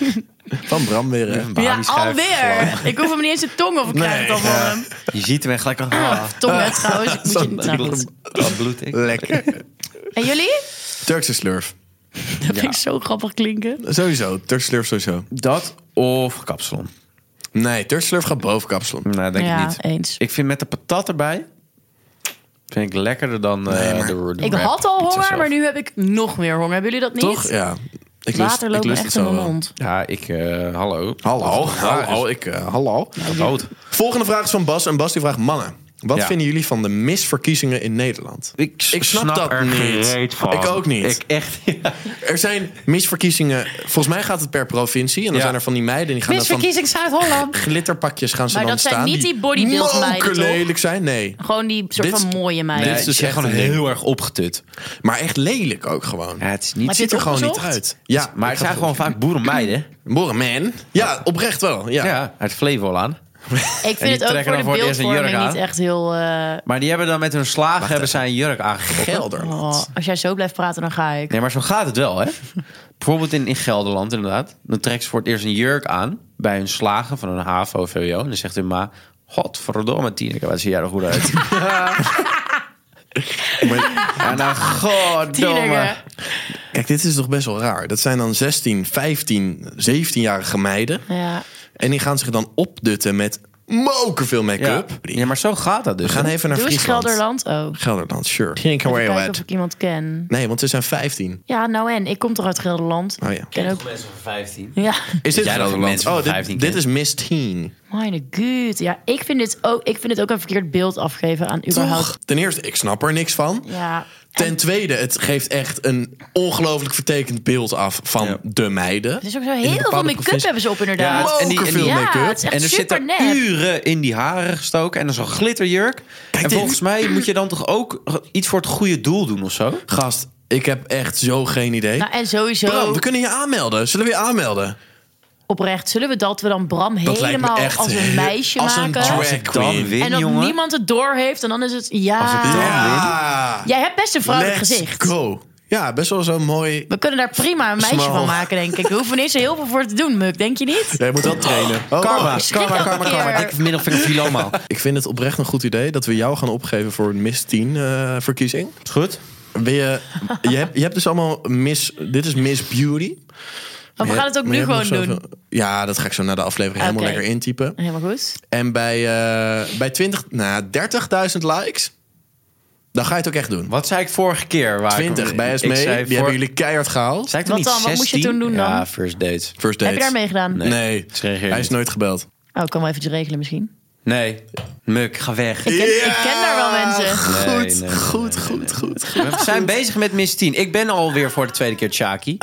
Speaker 1: Van Bram weer, hè?
Speaker 3: Ja,
Speaker 2: Bami-schijf.
Speaker 3: alweer. Ik hoef hem niet eens in tong of ik krijg het al van hem.
Speaker 2: Je ziet hem en gelijk al... Ah,
Speaker 3: Tong, hè, trouwens. Moet je,
Speaker 1: Zo'n
Speaker 3: nou, goed.
Speaker 2: dat bloed ik.
Speaker 1: Lekker.
Speaker 3: En jullie?
Speaker 1: Turkse slurf.
Speaker 3: Dat vind ik zo grappig klinken.
Speaker 1: Sowieso, Turkse slurf sowieso.
Speaker 2: Dat of kapsalon.
Speaker 1: Nee, Turkse slurf gaat boven kapsalon.
Speaker 2: Nou, denk
Speaker 3: ja,
Speaker 2: ik niet.
Speaker 3: eens.
Speaker 2: Ik vind met de patat erbij... Vind ik lekkerder dan eh,
Speaker 1: Nee, maar-
Speaker 2: de, de
Speaker 3: Ik
Speaker 2: wrap
Speaker 3: had al
Speaker 2: pizza
Speaker 3: honger,
Speaker 2: zelf.
Speaker 3: maar nu heb ik nog meer honger. Hebben jullie dat niet?
Speaker 1: Toch? Ja. Ik lust,
Speaker 3: Water
Speaker 1: ik
Speaker 3: loopt me
Speaker 1: lust het
Speaker 3: echt
Speaker 1: zo
Speaker 3: in mijn
Speaker 1: wel.
Speaker 3: mond.
Speaker 2: Ja, ik... eh, hallo. dus-
Speaker 1: Hallo,
Speaker 2: Hallo.
Speaker 1: hallo, ik, eh, hallo.
Speaker 2: Rood.
Speaker 1: Volgende vraag is van Bas. En Bas die vraagt, mannen, wat
Speaker 2: Ja.
Speaker 1: vinden jullie van de misverkiezingen in Nederland?
Speaker 2: Ik,
Speaker 1: Ik snap dat niet. Ik ook niet.
Speaker 2: Ik echt... Ja.
Speaker 1: Er zijn misverkiezingen. Volgens mij gaat het per provincie. En dan
Speaker 2: Ja.
Speaker 1: zijn er van die meiden die gaan dan van
Speaker 3: Zuid-Holland.
Speaker 1: glitterpakjes gaan ze
Speaker 3: Maar
Speaker 1: dan
Speaker 3: dat zijn
Speaker 1: staan.
Speaker 3: niet die bodybuildmeiden, toch?
Speaker 1: lelijk zijn, nee.
Speaker 3: Gewoon die soort
Speaker 1: Dit-
Speaker 3: van mooie meiden.
Speaker 2: Nee,
Speaker 1: dit is
Speaker 2: het is
Speaker 1: echt
Speaker 2: gewoon
Speaker 1: een ding.
Speaker 2: heel erg opgetut.
Speaker 1: Maar echt lelijk ook gewoon.
Speaker 2: Ja, het is
Speaker 3: Maar
Speaker 2: niet...
Speaker 3: je
Speaker 1: Ziet er
Speaker 3: dit
Speaker 1: gewoon niet
Speaker 3: opgezocht?
Speaker 1: uit. Ja,
Speaker 2: Maar het zijn gewoon vaak boerenmeiden.
Speaker 1: Borenman. Ja, oprecht wel. Ja.
Speaker 2: Ja, uit Flevoland aan.
Speaker 3: ik
Speaker 2: die
Speaker 3: vind het ook
Speaker 2: trekken
Speaker 3: voor de
Speaker 2: dan voor het eerst een jurk
Speaker 3: beeldvorming
Speaker 2: aan.
Speaker 3: niet echt heel... eh,
Speaker 2: Maar die hebben dan met hun slaag hebben zij een jurk aangetrokken.
Speaker 1: Gelderland.
Speaker 3: oh, als jij zo blijft praten, dan ga ik.
Speaker 2: Nee, maar zo gaat het wel, hè? Bijvoorbeeld in, in Gelderland, inderdaad. Dan trekken ze voor het eerst een jurk aan bij hun slagen van een HAVO of VWO. En dan zegt hun ma... Godverdomme, Tineke, wat zie jij er goed uit. en dan, nou, goddomme.
Speaker 3: Tienige.
Speaker 1: Kijk, dit is toch best wel raar. Dat zijn dan 16, 15, 17-jarige meiden.
Speaker 3: Ja.
Speaker 1: En die gaan zich dan opdutten met mokerveel
Speaker 2: Ja.
Speaker 1: make-up.
Speaker 2: ja, maar zo gaat dat dus.
Speaker 1: We gaan even naar
Speaker 3: Doe eens
Speaker 1: Friesland.
Speaker 3: Gelderland ook.
Speaker 1: Gelderland, sure. Geen
Speaker 3: Even kijken of ik iemand ken.
Speaker 1: Nee, want ze zijn 15.
Speaker 3: Ja, nou en? Ik kom toch uit Gelderland?
Speaker 1: Oh ja.
Speaker 3: Ken ook...
Speaker 2: mensen van 15.
Speaker 3: Ja.
Speaker 1: Is
Speaker 2: jij dat ook mensen van
Speaker 1: Oh, dit,
Speaker 2: 15
Speaker 1: dit
Speaker 2: kent?
Speaker 1: is Miss Teen.
Speaker 3: Mijn god. Ja, ik vind, dit ook, ik vind het ook een verkeerd beeld afgeven aan überhaupt.
Speaker 1: Toch? Ten eerste, ik snap er niks van.
Speaker 3: Ja.
Speaker 1: Ten tweede, het geeft echt een ongelooflijk vertekend beeld af van
Speaker 2: Ja.
Speaker 1: de meiden.
Speaker 3: Het is ook zo
Speaker 1: In
Speaker 3: heel veel
Speaker 1: bepaalde
Speaker 3: make-up
Speaker 1: provincies-
Speaker 3: hebben ze op
Speaker 2: Ja,
Speaker 3: inderdaad.
Speaker 2: en die- en die-
Speaker 1: Mokerveel
Speaker 3: Ja,
Speaker 1: make-up.
Speaker 3: het is echt
Speaker 2: en er
Speaker 3: super
Speaker 2: zitten
Speaker 3: nep.
Speaker 2: uren in die haren gestoken. En dan zo'n glitterjurk. en
Speaker 1: dit-
Speaker 2: volgens mij moet je dan toch ook iets voor het goede doel doen of zo?
Speaker 1: Gast, ik heb echt zo geen idee.
Speaker 3: Nou, en sowieso
Speaker 1: Bram, we kunnen je aanmelden. Zullen we je aanmelden?
Speaker 3: oprecht zullen we dat we dan Bram
Speaker 1: Dat lijkt me
Speaker 3: helemaal
Speaker 1: echt
Speaker 3: als een
Speaker 1: heel-
Speaker 3: meisje
Speaker 1: als een
Speaker 3: maken.
Speaker 1: drag
Speaker 2: Als ik dan
Speaker 1: queen.
Speaker 2: win,
Speaker 3: en dat
Speaker 2: jongen.
Speaker 3: niemand het door heeft. En dan is het,
Speaker 2: Als
Speaker 3: ja.
Speaker 2: het dan-
Speaker 1: Ja.
Speaker 3: Jij hebt best een Ah. vrouwelijk
Speaker 1: Let's
Speaker 3: gezicht.
Speaker 1: go. Ja, best wel zo'n mooi...
Speaker 3: We kunnen daar prima een meisje
Speaker 1: Small.
Speaker 3: van maken, denk ik. We hoeven niet zo heel veel voor te doen, Muk. Denk je niet?
Speaker 1: Jij moet wel trainen. Oh,
Speaker 2: Karma,
Speaker 1: oh.
Speaker 3: schrik
Speaker 2: karma,
Speaker 3: elke
Speaker 2: karma,
Speaker 3: keer.
Speaker 2: karma. Dikke middelvinger voor jullie allemaal.
Speaker 1: Ik vind het oprecht een goed idee dat we jou gaan opgeven voor een Miss 10 eh, verkiezing.
Speaker 2: Is goed?
Speaker 1: Wil je, je, hebt, je hebt dus allemaal Miss... Dit is Miss Beauty.
Speaker 3: Of we
Speaker 1: Ja,
Speaker 3: gaan het ook
Speaker 1: maar
Speaker 3: nu
Speaker 1: je hebt
Speaker 3: gewoon
Speaker 1: nog
Speaker 3: doen.
Speaker 1: zoveel- Ja, dat ga ik zo na de aflevering helemaal
Speaker 3: Oké.
Speaker 1: lekker intypen.
Speaker 3: Helemaal goed.
Speaker 1: En bij, eh bij 20, nou, 30.000 likes Dan ga je het ook echt doen.
Speaker 2: Wat zei ik vorige keer? Waar ik-
Speaker 1: 20 bij
Speaker 2: ik
Speaker 1: Esmee, die
Speaker 2: zei voor-
Speaker 1: hebben jullie keihard gehaald.
Speaker 2: Zei ik
Speaker 3: Wat
Speaker 2: toen niet
Speaker 3: dan? Wat moest je
Speaker 2: 16?
Speaker 3: toen doen dan?
Speaker 2: Ja, first dates.
Speaker 1: First date.
Speaker 3: Heb je daar meegedaan?
Speaker 1: Nee,
Speaker 2: Ze reageert
Speaker 1: hij is
Speaker 2: niet.
Speaker 1: nooit gebeld.
Speaker 3: Oh, ik kan wel eventjes regelen misschien.
Speaker 2: Nee. Muk, ga weg.
Speaker 3: Ik ken, ik ken daar wel mensen.
Speaker 1: Goed,
Speaker 2: Nee, nee, nee,
Speaker 1: goed, goed, goed, goed.
Speaker 2: We zijn bezig met Miss 10. Ik ben alweer voor de tweede keer Chaki.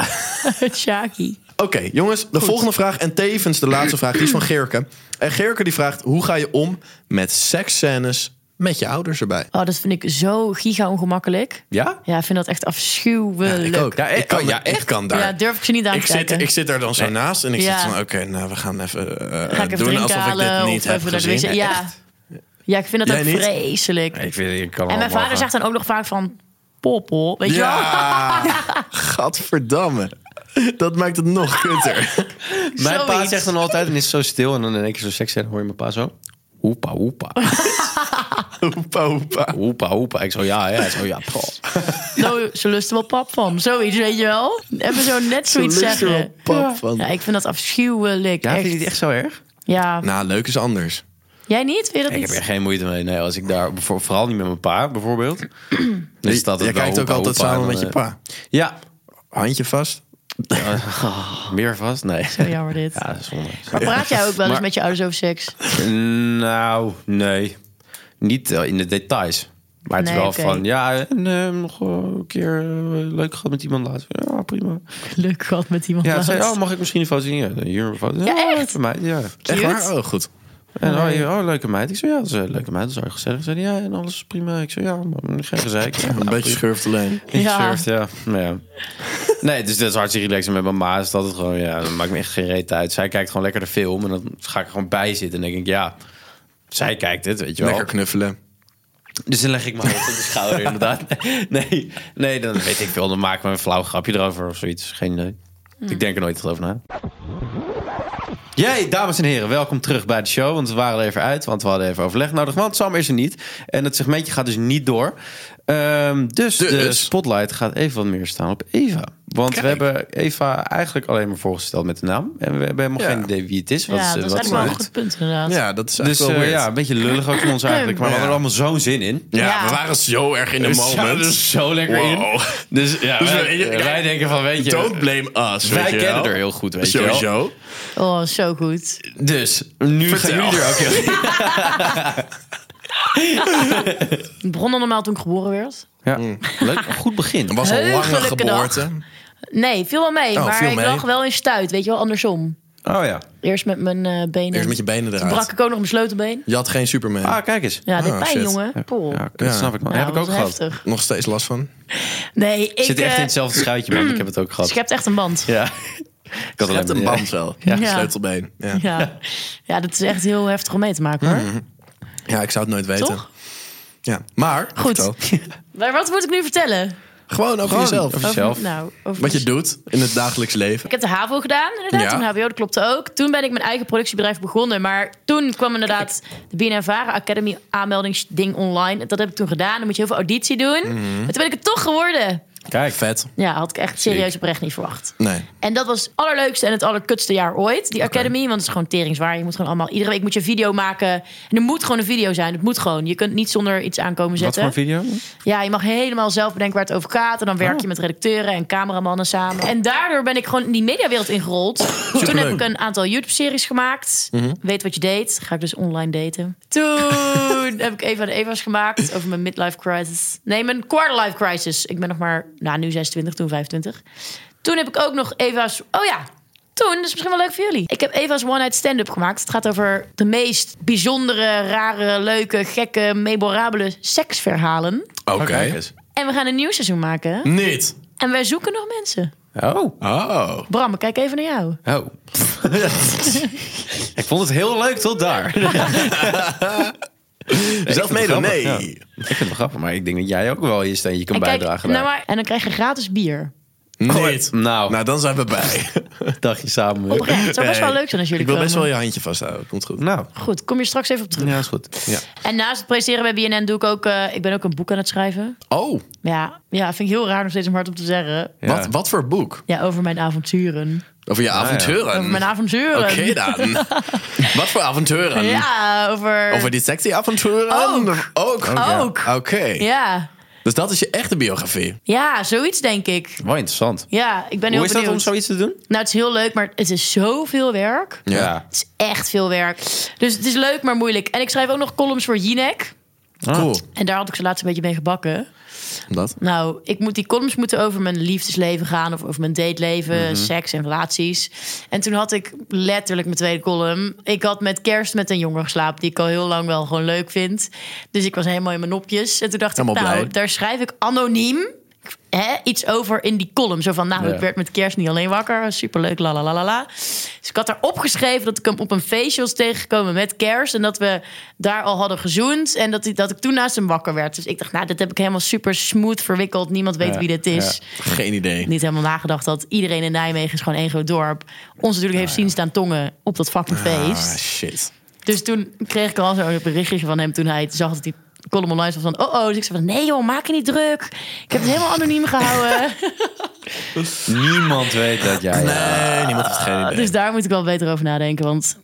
Speaker 3: Shaki.
Speaker 1: Oké, jongens, de volgende vraag en tevens de laatste vraag, die is van Gerke. En Gerke die vraagt, hoe ga je om met seksscènes met je ouders erbij?
Speaker 3: Oh, dat vind ik zo giga ongemakkelijk.
Speaker 2: Ja?
Speaker 3: Ja, ik vind dat echt afschuwelijk.
Speaker 1: Ik ook.
Speaker 2: Ja,
Speaker 1: ik kan,
Speaker 2: oh, ja,
Speaker 1: ja, ik
Speaker 2: echt?
Speaker 1: kan daar.
Speaker 3: Ja, durf ik ze niet aan
Speaker 1: ik,
Speaker 3: te
Speaker 1: zit,
Speaker 3: kijken.
Speaker 1: ik zit daar dan zo naast en ik
Speaker 3: Ja.
Speaker 1: zit van... Oké, nou, we gaan even eh,
Speaker 3: Ga ik
Speaker 1: doen
Speaker 3: even drinken
Speaker 1: alsof ik dit
Speaker 3: halen
Speaker 1: niet
Speaker 3: of
Speaker 1: heb
Speaker 3: even naar de
Speaker 1: gezien.
Speaker 3: wc. Ja. ja, ik vind dat
Speaker 1: Jij
Speaker 3: ook
Speaker 1: niet?
Speaker 3: vreselijk.
Speaker 2: Ik vind, ik kan
Speaker 3: en mijn
Speaker 2: allemaal
Speaker 3: vader
Speaker 2: gaan.
Speaker 3: zegt dan ook nog vaak van... Poppel, weet je wel?
Speaker 1: Ja, gadverdamme. Dat maakt het nog kutter.
Speaker 2: Mijn pa
Speaker 3: Zoiets.
Speaker 2: zegt dan altijd, en is zo stil. En dan in één keer zo seks en hoor je mijn pa zo... Oepa, oepa.
Speaker 1: Oepa, oepa.
Speaker 2: Oepa, oepa. Ik zo, ja, ja. Zo, ja, pff.
Speaker 3: Nou, ze lusten wel pap van. Zoiets, weet je wel? Even zo net zoiets
Speaker 1: lust er
Speaker 3: zeggen.
Speaker 1: wel pap van.
Speaker 3: Ja, ik vind dat afschuwelijk.
Speaker 2: Ja,
Speaker 3: echt.
Speaker 2: vind je het echt zo erg?
Speaker 3: Ja.
Speaker 1: Nou, leuk is anders.
Speaker 3: Jij niet? Vind je dat
Speaker 2: Ik
Speaker 3: niet?
Speaker 2: heb er geen moeite mee. Nee, als ik daar... voor- Vooral niet met mijn pa, bijvoorbeeld. Dan
Speaker 1: Je,
Speaker 2: is dat het
Speaker 1: jij
Speaker 2: wel
Speaker 1: kijkt ook
Speaker 2: oepa,
Speaker 1: altijd
Speaker 2: oepa, en
Speaker 1: samen
Speaker 2: dan,
Speaker 1: met je
Speaker 2: eh,
Speaker 1: pa.
Speaker 2: Ja.
Speaker 1: Handje vast.
Speaker 2: Meer vast? Nee.
Speaker 3: Zo jammer dit.
Speaker 2: Ja, dat is zonde.
Speaker 3: Maar praat jij ook wel eens
Speaker 2: Maar-
Speaker 3: met je ouders over seks?
Speaker 2: Nou, nee. Niet eh, in de details. Maar het
Speaker 3: Nee,
Speaker 2: is wel
Speaker 3: oké.
Speaker 2: van, ja, en, eh, nog eh, een keer eh, leuk gehad met iemand laatst. Ja, prima.
Speaker 3: Leuk gehad met iemand
Speaker 2: Ja,
Speaker 3: laatst.
Speaker 2: zei, oh, mag ik misschien een foto zien? Ja, hier een foto.
Speaker 3: Ja, echt?
Speaker 2: Van mij, ja.
Speaker 1: Echt
Speaker 3: Cute.
Speaker 1: waar? Oh, goed.
Speaker 2: En oh, hier, oh, leuke meid. Ik zei, ja, dat is een leuke meid. Dat is erg gezellig. Zei, ja, en alles is prima. Ik zei, ja, maar mm, geen gezeik. Ja,
Speaker 1: Een
Speaker 2: nou,
Speaker 1: beetje schurft alleen.
Speaker 2: prima.
Speaker 3: Ja.
Speaker 2: Gesurfd, ja. Nou ja. Nee, dus dat is hartstikke relaxed. En met mijn ma is dat het gewoon, ja, dat maakt me echt geen reet uit. Zij kijkt gewoon lekker de film en dan ga ik er gewoon bij zitten. En denk ik, ja, zij kijkt het, weet je wel.
Speaker 1: Lekker knuffelen.
Speaker 2: Dus dan leg ik mijn hoofd op de schouder, inderdaad. Nee, nee, dan weet ik veel. Dan maken we een flauw grapje erover of zoiets. Geen idee. Ik denk er nooit echt over na. Jee, dames en heren, welkom terug bij de show. Want we waren er even uit, want we hadden even overleg nodig. Want Sam is er niet. En het segmentje gaat dus niet door. Ehm, dus de
Speaker 1: Dus.
Speaker 2: spotlight gaat even wat meer staan op Eva. Want we
Speaker 1: Kijk.
Speaker 2: hebben Eva eigenlijk alleen maar voorgesteld met de naam. En we hebben helemaal
Speaker 1: Ja.
Speaker 2: geen idee wie het is. Wat,
Speaker 3: Ja,
Speaker 1: eh,
Speaker 2: ze-
Speaker 3: dat is
Speaker 2: wat
Speaker 3: echt
Speaker 2: ze
Speaker 3: wel een
Speaker 2: doet.
Speaker 3: goed punt inderdaad.
Speaker 1: Ja, dat is echt
Speaker 2: Dus
Speaker 1: wel
Speaker 2: eh,
Speaker 1: weird.
Speaker 2: ja, een beetje lullig ook van ons eigenlijk. Maar we
Speaker 1: Ja.
Speaker 2: hadden er allemaal zo'n zin in.
Speaker 1: Ja,
Speaker 3: Ja.
Speaker 1: we waren zo erg in de
Speaker 2: We
Speaker 1: moment.
Speaker 2: zaten er Dus zo lekker in.
Speaker 1: Wow.
Speaker 2: Dus ja,
Speaker 1: Dus
Speaker 2: wij,
Speaker 1: we-
Speaker 2: wij denken van, weet je...
Speaker 1: Don't blame us,
Speaker 2: wij
Speaker 1: weet je wel.
Speaker 2: kennen er heel goed, weet je wel.
Speaker 1: Sowieso.
Speaker 3: Oh, zo goed.
Speaker 2: Dus, nu
Speaker 1: Vertel.
Speaker 2: gaan jullie er ook heel
Speaker 3: Het begon dan normaal toen ik geboren werd.
Speaker 2: Ja,
Speaker 1: Mm.
Speaker 2: leuk. Een goed begin.
Speaker 1: Het was een lange
Speaker 3: Heugelijke
Speaker 1: geboorte.
Speaker 3: Nee, viel wel mee.
Speaker 1: Oh,
Speaker 3: maar
Speaker 1: viel
Speaker 3: ik
Speaker 1: mee.
Speaker 3: lag wel in stuit, weet je wel, andersom.
Speaker 2: Oh ja.
Speaker 3: Eerst met mijn eh, benen.
Speaker 1: Eerst met je benen
Speaker 3: Toen brak
Speaker 1: eruit.
Speaker 3: ik ook nog mijn sleutelbeen.
Speaker 1: Je had geen Superman.
Speaker 2: Ah, kijk eens.
Speaker 3: Ja, dit
Speaker 1: Ah,
Speaker 3: pijn,
Speaker 1: shit.
Speaker 3: jongen. Poel.
Speaker 2: Ja, dat snap ik. Man.
Speaker 3: Nou,
Speaker 2: heb ik ook
Speaker 3: wat
Speaker 2: gehad.
Speaker 3: heftig.
Speaker 1: Nog steeds last van.
Speaker 3: Nee, ik,
Speaker 2: Ik zit echt
Speaker 3: eh,
Speaker 2: in hetzelfde schuitje, man. Ik heb het ook gehad.
Speaker 3: schept echt een band.
Speaker 2: Ja. Ik had
Speaker 1: Je hebt
Speaker 2: alleen
Speaker 1: een
Speaker 2: maar-
Speaker 1: band wel.
Speaker 3: Ja.
Speaker 1: Ja. Sleutelbeen. Ja. Mm,
Speaker 3: Ja. ja, dat is echt heel heftig om mee te maken hoor.
Speaker 1: ja, ik zou het nooit weten.
Speaker 3: Toch?
Speaker 1: Ja. Maar,
Speaker 3: Goed.
Speaker 1: vertel.
Speaker 3: Maar wat moet ik nu vertellen?
Speaker 1: gewoon over jezelf.
Speaker 2: over- Zelf.
Speaker 3: nou, over
Speaker 1: Wat je
Speaker 3: mez-
Speaker 1: doet in het dagelijks leven.
Speaker 3: Ik heb de HAVO gedaan, inderdaad.
Speaker 1: Ja.
Speaker 3: Toen HBO, dat klopte ook. Toen ben ik mijn eigen productiebedrijf begonnen. Maar toen kwam inderdaad de BNNVARA Academy aanmeldingsding online. Dat heb ik toen gedaan. Dan moet je heel veel auditie doen.
Speaker 1: Mhm.
Speaker 3: Maar toen ben ik het toch geworden.
Speaker 2: Kijk.
Speaker 1: Vet.
Speaker 3: Ja, had ik echt serieus oprecht niet verwacht.
Speaker 1: Nee.
Speaker 3: En dat was het allerleukste en het allerkutste jaar ooit, die Academy. Want het is gewoon teringswaar. Je moet gewoon allemaal, iedere week moet je een video maken. En er moet gewoon een video zijn. Het moet gewoon. Je kunt niet zonder iets aankomen
Speaker 2: Wat
Speaker 3: zetten.
Speaker 2: voor een video?
Speaker 3: Ja, je mag helemaal zelf bedenken waar het over gaat. En dan werk je met redacteuren en cameramannen samen. En daardoor ben ik gewoon in die mediawereld ingerold. Toen heb ik een aantal YouTube-series gemaakt. Weet wat je deed. Ga ik dus online daten. Toen heb ik Eva de Eva's gemaakt over mijn midlife crisis. Nee, mijn quarterlife crisis. Ik ben nog maar, nou nu 26, toen 25. Toen heb ik ook nog Eva's... Oh ja, toen, dat is misschien wel leuk voor jullie. Ik heb Eva's One Night Stand-Up gemaakt. Het gaat over de meest bijzondere, rare, leuke, gekke, memorabele seksverhalen.
Speaker 1: Oké.
Speaker 2: Oh, kijk eens.
Speaker 3: En we gaan een nieuw seizoen maken.
Speaker 1: Hm? Niet.
Speaker 3: En wij zoeken nog mensen.
Speaker 2: Oh.
Speaker 1: Oh.
Speaker 3: Bram, ik kijk even naar jou.
Speaker 2: Oh. ik vond het heel leuk tot daar.
Speaker 1: Zelf meedoen?
Speaker 2: grappig,
Speaker 1: Nee.
Speaker 2: ja. Ik vind het wel grappig, maar ik denk dat jij ook wel je steentje kan
Speaker 3: En, kijk,
Speaker 2: bijdragen.
Speaker 3: nou
Speaker 2: daar.
Speaker 3: maar, en dan krijg je gratis bier.
Speaker 1: Niet.
Speaker 2: Nou,
Speaker 1: Nou, dan zijn we bij.
Speaker 2: dagje samen.
Speaker 3: Oprecht. Het zou best wel
Speaker 1: Hey,
Speaker 3: leuk zijn als jullie
Speaker 1: Ik wil best
Speaker 3: komen.
Speaker 1: wel je handje vasthouden. Komt goed.
Speaker 2: Nou,
Speaker 3: Goed, kom je straks even op terug.
Speaker 2: ja, is goed. Ja.
Speaker 3: En naast het presteren bij BNN doe ik ook... eh, ik ben ook een boek aan het schrijven.
Speaker 1: Oh,
Speaker 3: Ja, ja, vind ik heel raar om steeds om hard op te zeggen.
Speaker 2: Ja.
Speaker 1: wat, wat voor boek?
Speaker 3: Ja, over mijn avonturen.
Speaker 1: Over je
Speaker 2: ja.
Speaker 1: avonturen.
Speaker 3: Over mijn avonturen.
Speaker 1: Oké dan. Wat voor avonturen?
Speaker 3: Ja, over...
Speaker 1: Over die sexy avonturen?
Speaker 3: Eh, Ook.
Speaker 1: Ook.
Speaker 3: Ook.
Speaker 1: Oké.
Speaker 3: Ja.
Speaker 1: Dus dat is je echte biografie.
Speaker 3: Ja, zoiets denk ik.
Speaker 2: Wel interessant.
Speaker 3: Ja, ik ben heel
Speaker 2: Hoe is dat
Speaker 3: benieuwd.
Speaker 2: om zoiets te doen?
Speaker 3: Nou, het is heel leuk, maar het is zoveel werk.
Speaker 1: Ja.
Speaker 3: Het is echt veel werk. Dus het is leuk, maar moeilijk. En ik schrijf ook nog columns voor Jinek. Ah.
Speaker 1: Cool.
Speaker 3: En daar had ik ze laatst een beetje mee gebakken.
Speaker 1: Dat.
Speaker 3: Nou, ik moet die columns moeten over mijn liefdesleven gaan... of over mijn dateleven,
Speaker 1: Mhm.
Speaker 3: seks en relaties. En toen had ik letterlijk mijn tweede column. Ik had met kerst met een jongen geslapen... die ik al heel lang wel gewoon leuk vind. Dus ik was helemaal in mijn nopjes. En toen dacht
Speaker 1: Helemaal
Speaker 3: ik, nou,
Speaker 1: blij.
Speaker 3: daar schrijf ik anoniem... Hè, iets over in die column. Zo van, nou,
Speaker 2: Ja.
Speaker 3: ik werd met kerst niet alleen wakker. Superleuk, la la la la la. Dus ik had daar opgeschreven dat ik hem op een feestje was tegengekomen met kerst. En dat we daar al hadden gezoend. En dat, ik- dat ik toen naast hem wakker werd. Dus ik dacht, nou, dit heb ik helemaal super smooth verwikkeld. Niemand weet
Speaker 2: Ja,
Speaker 3: wie dit is.
Speaker 1: Geen idee.
Speaker 3: Niet helemaal nagedacht dat iedereen in Nijmegen is gewoon één groot dorp. Ons natuurlijk
Speaker 2: Ah,
Speaker 3: heeft zien staan tongen op dat fucking feest.
Speaker 1: Ah, shit.
Speaker 3: Dus toen kreeg ik al zo'n berichtje van hem toen hij zag dat die column online was van... Oh, oh. Dus ik zei van, nee joh, maak je niet druk. Ik heb het helemaal anoniem gehouden.
Speaker 2: Niemand weet dat jij... eh,
Speaker 3: Eh,
Speaker 1: Nee, niemand heeft geen idee.
Speaker 3: Dus daar moet ik wel beter over nadenken. Want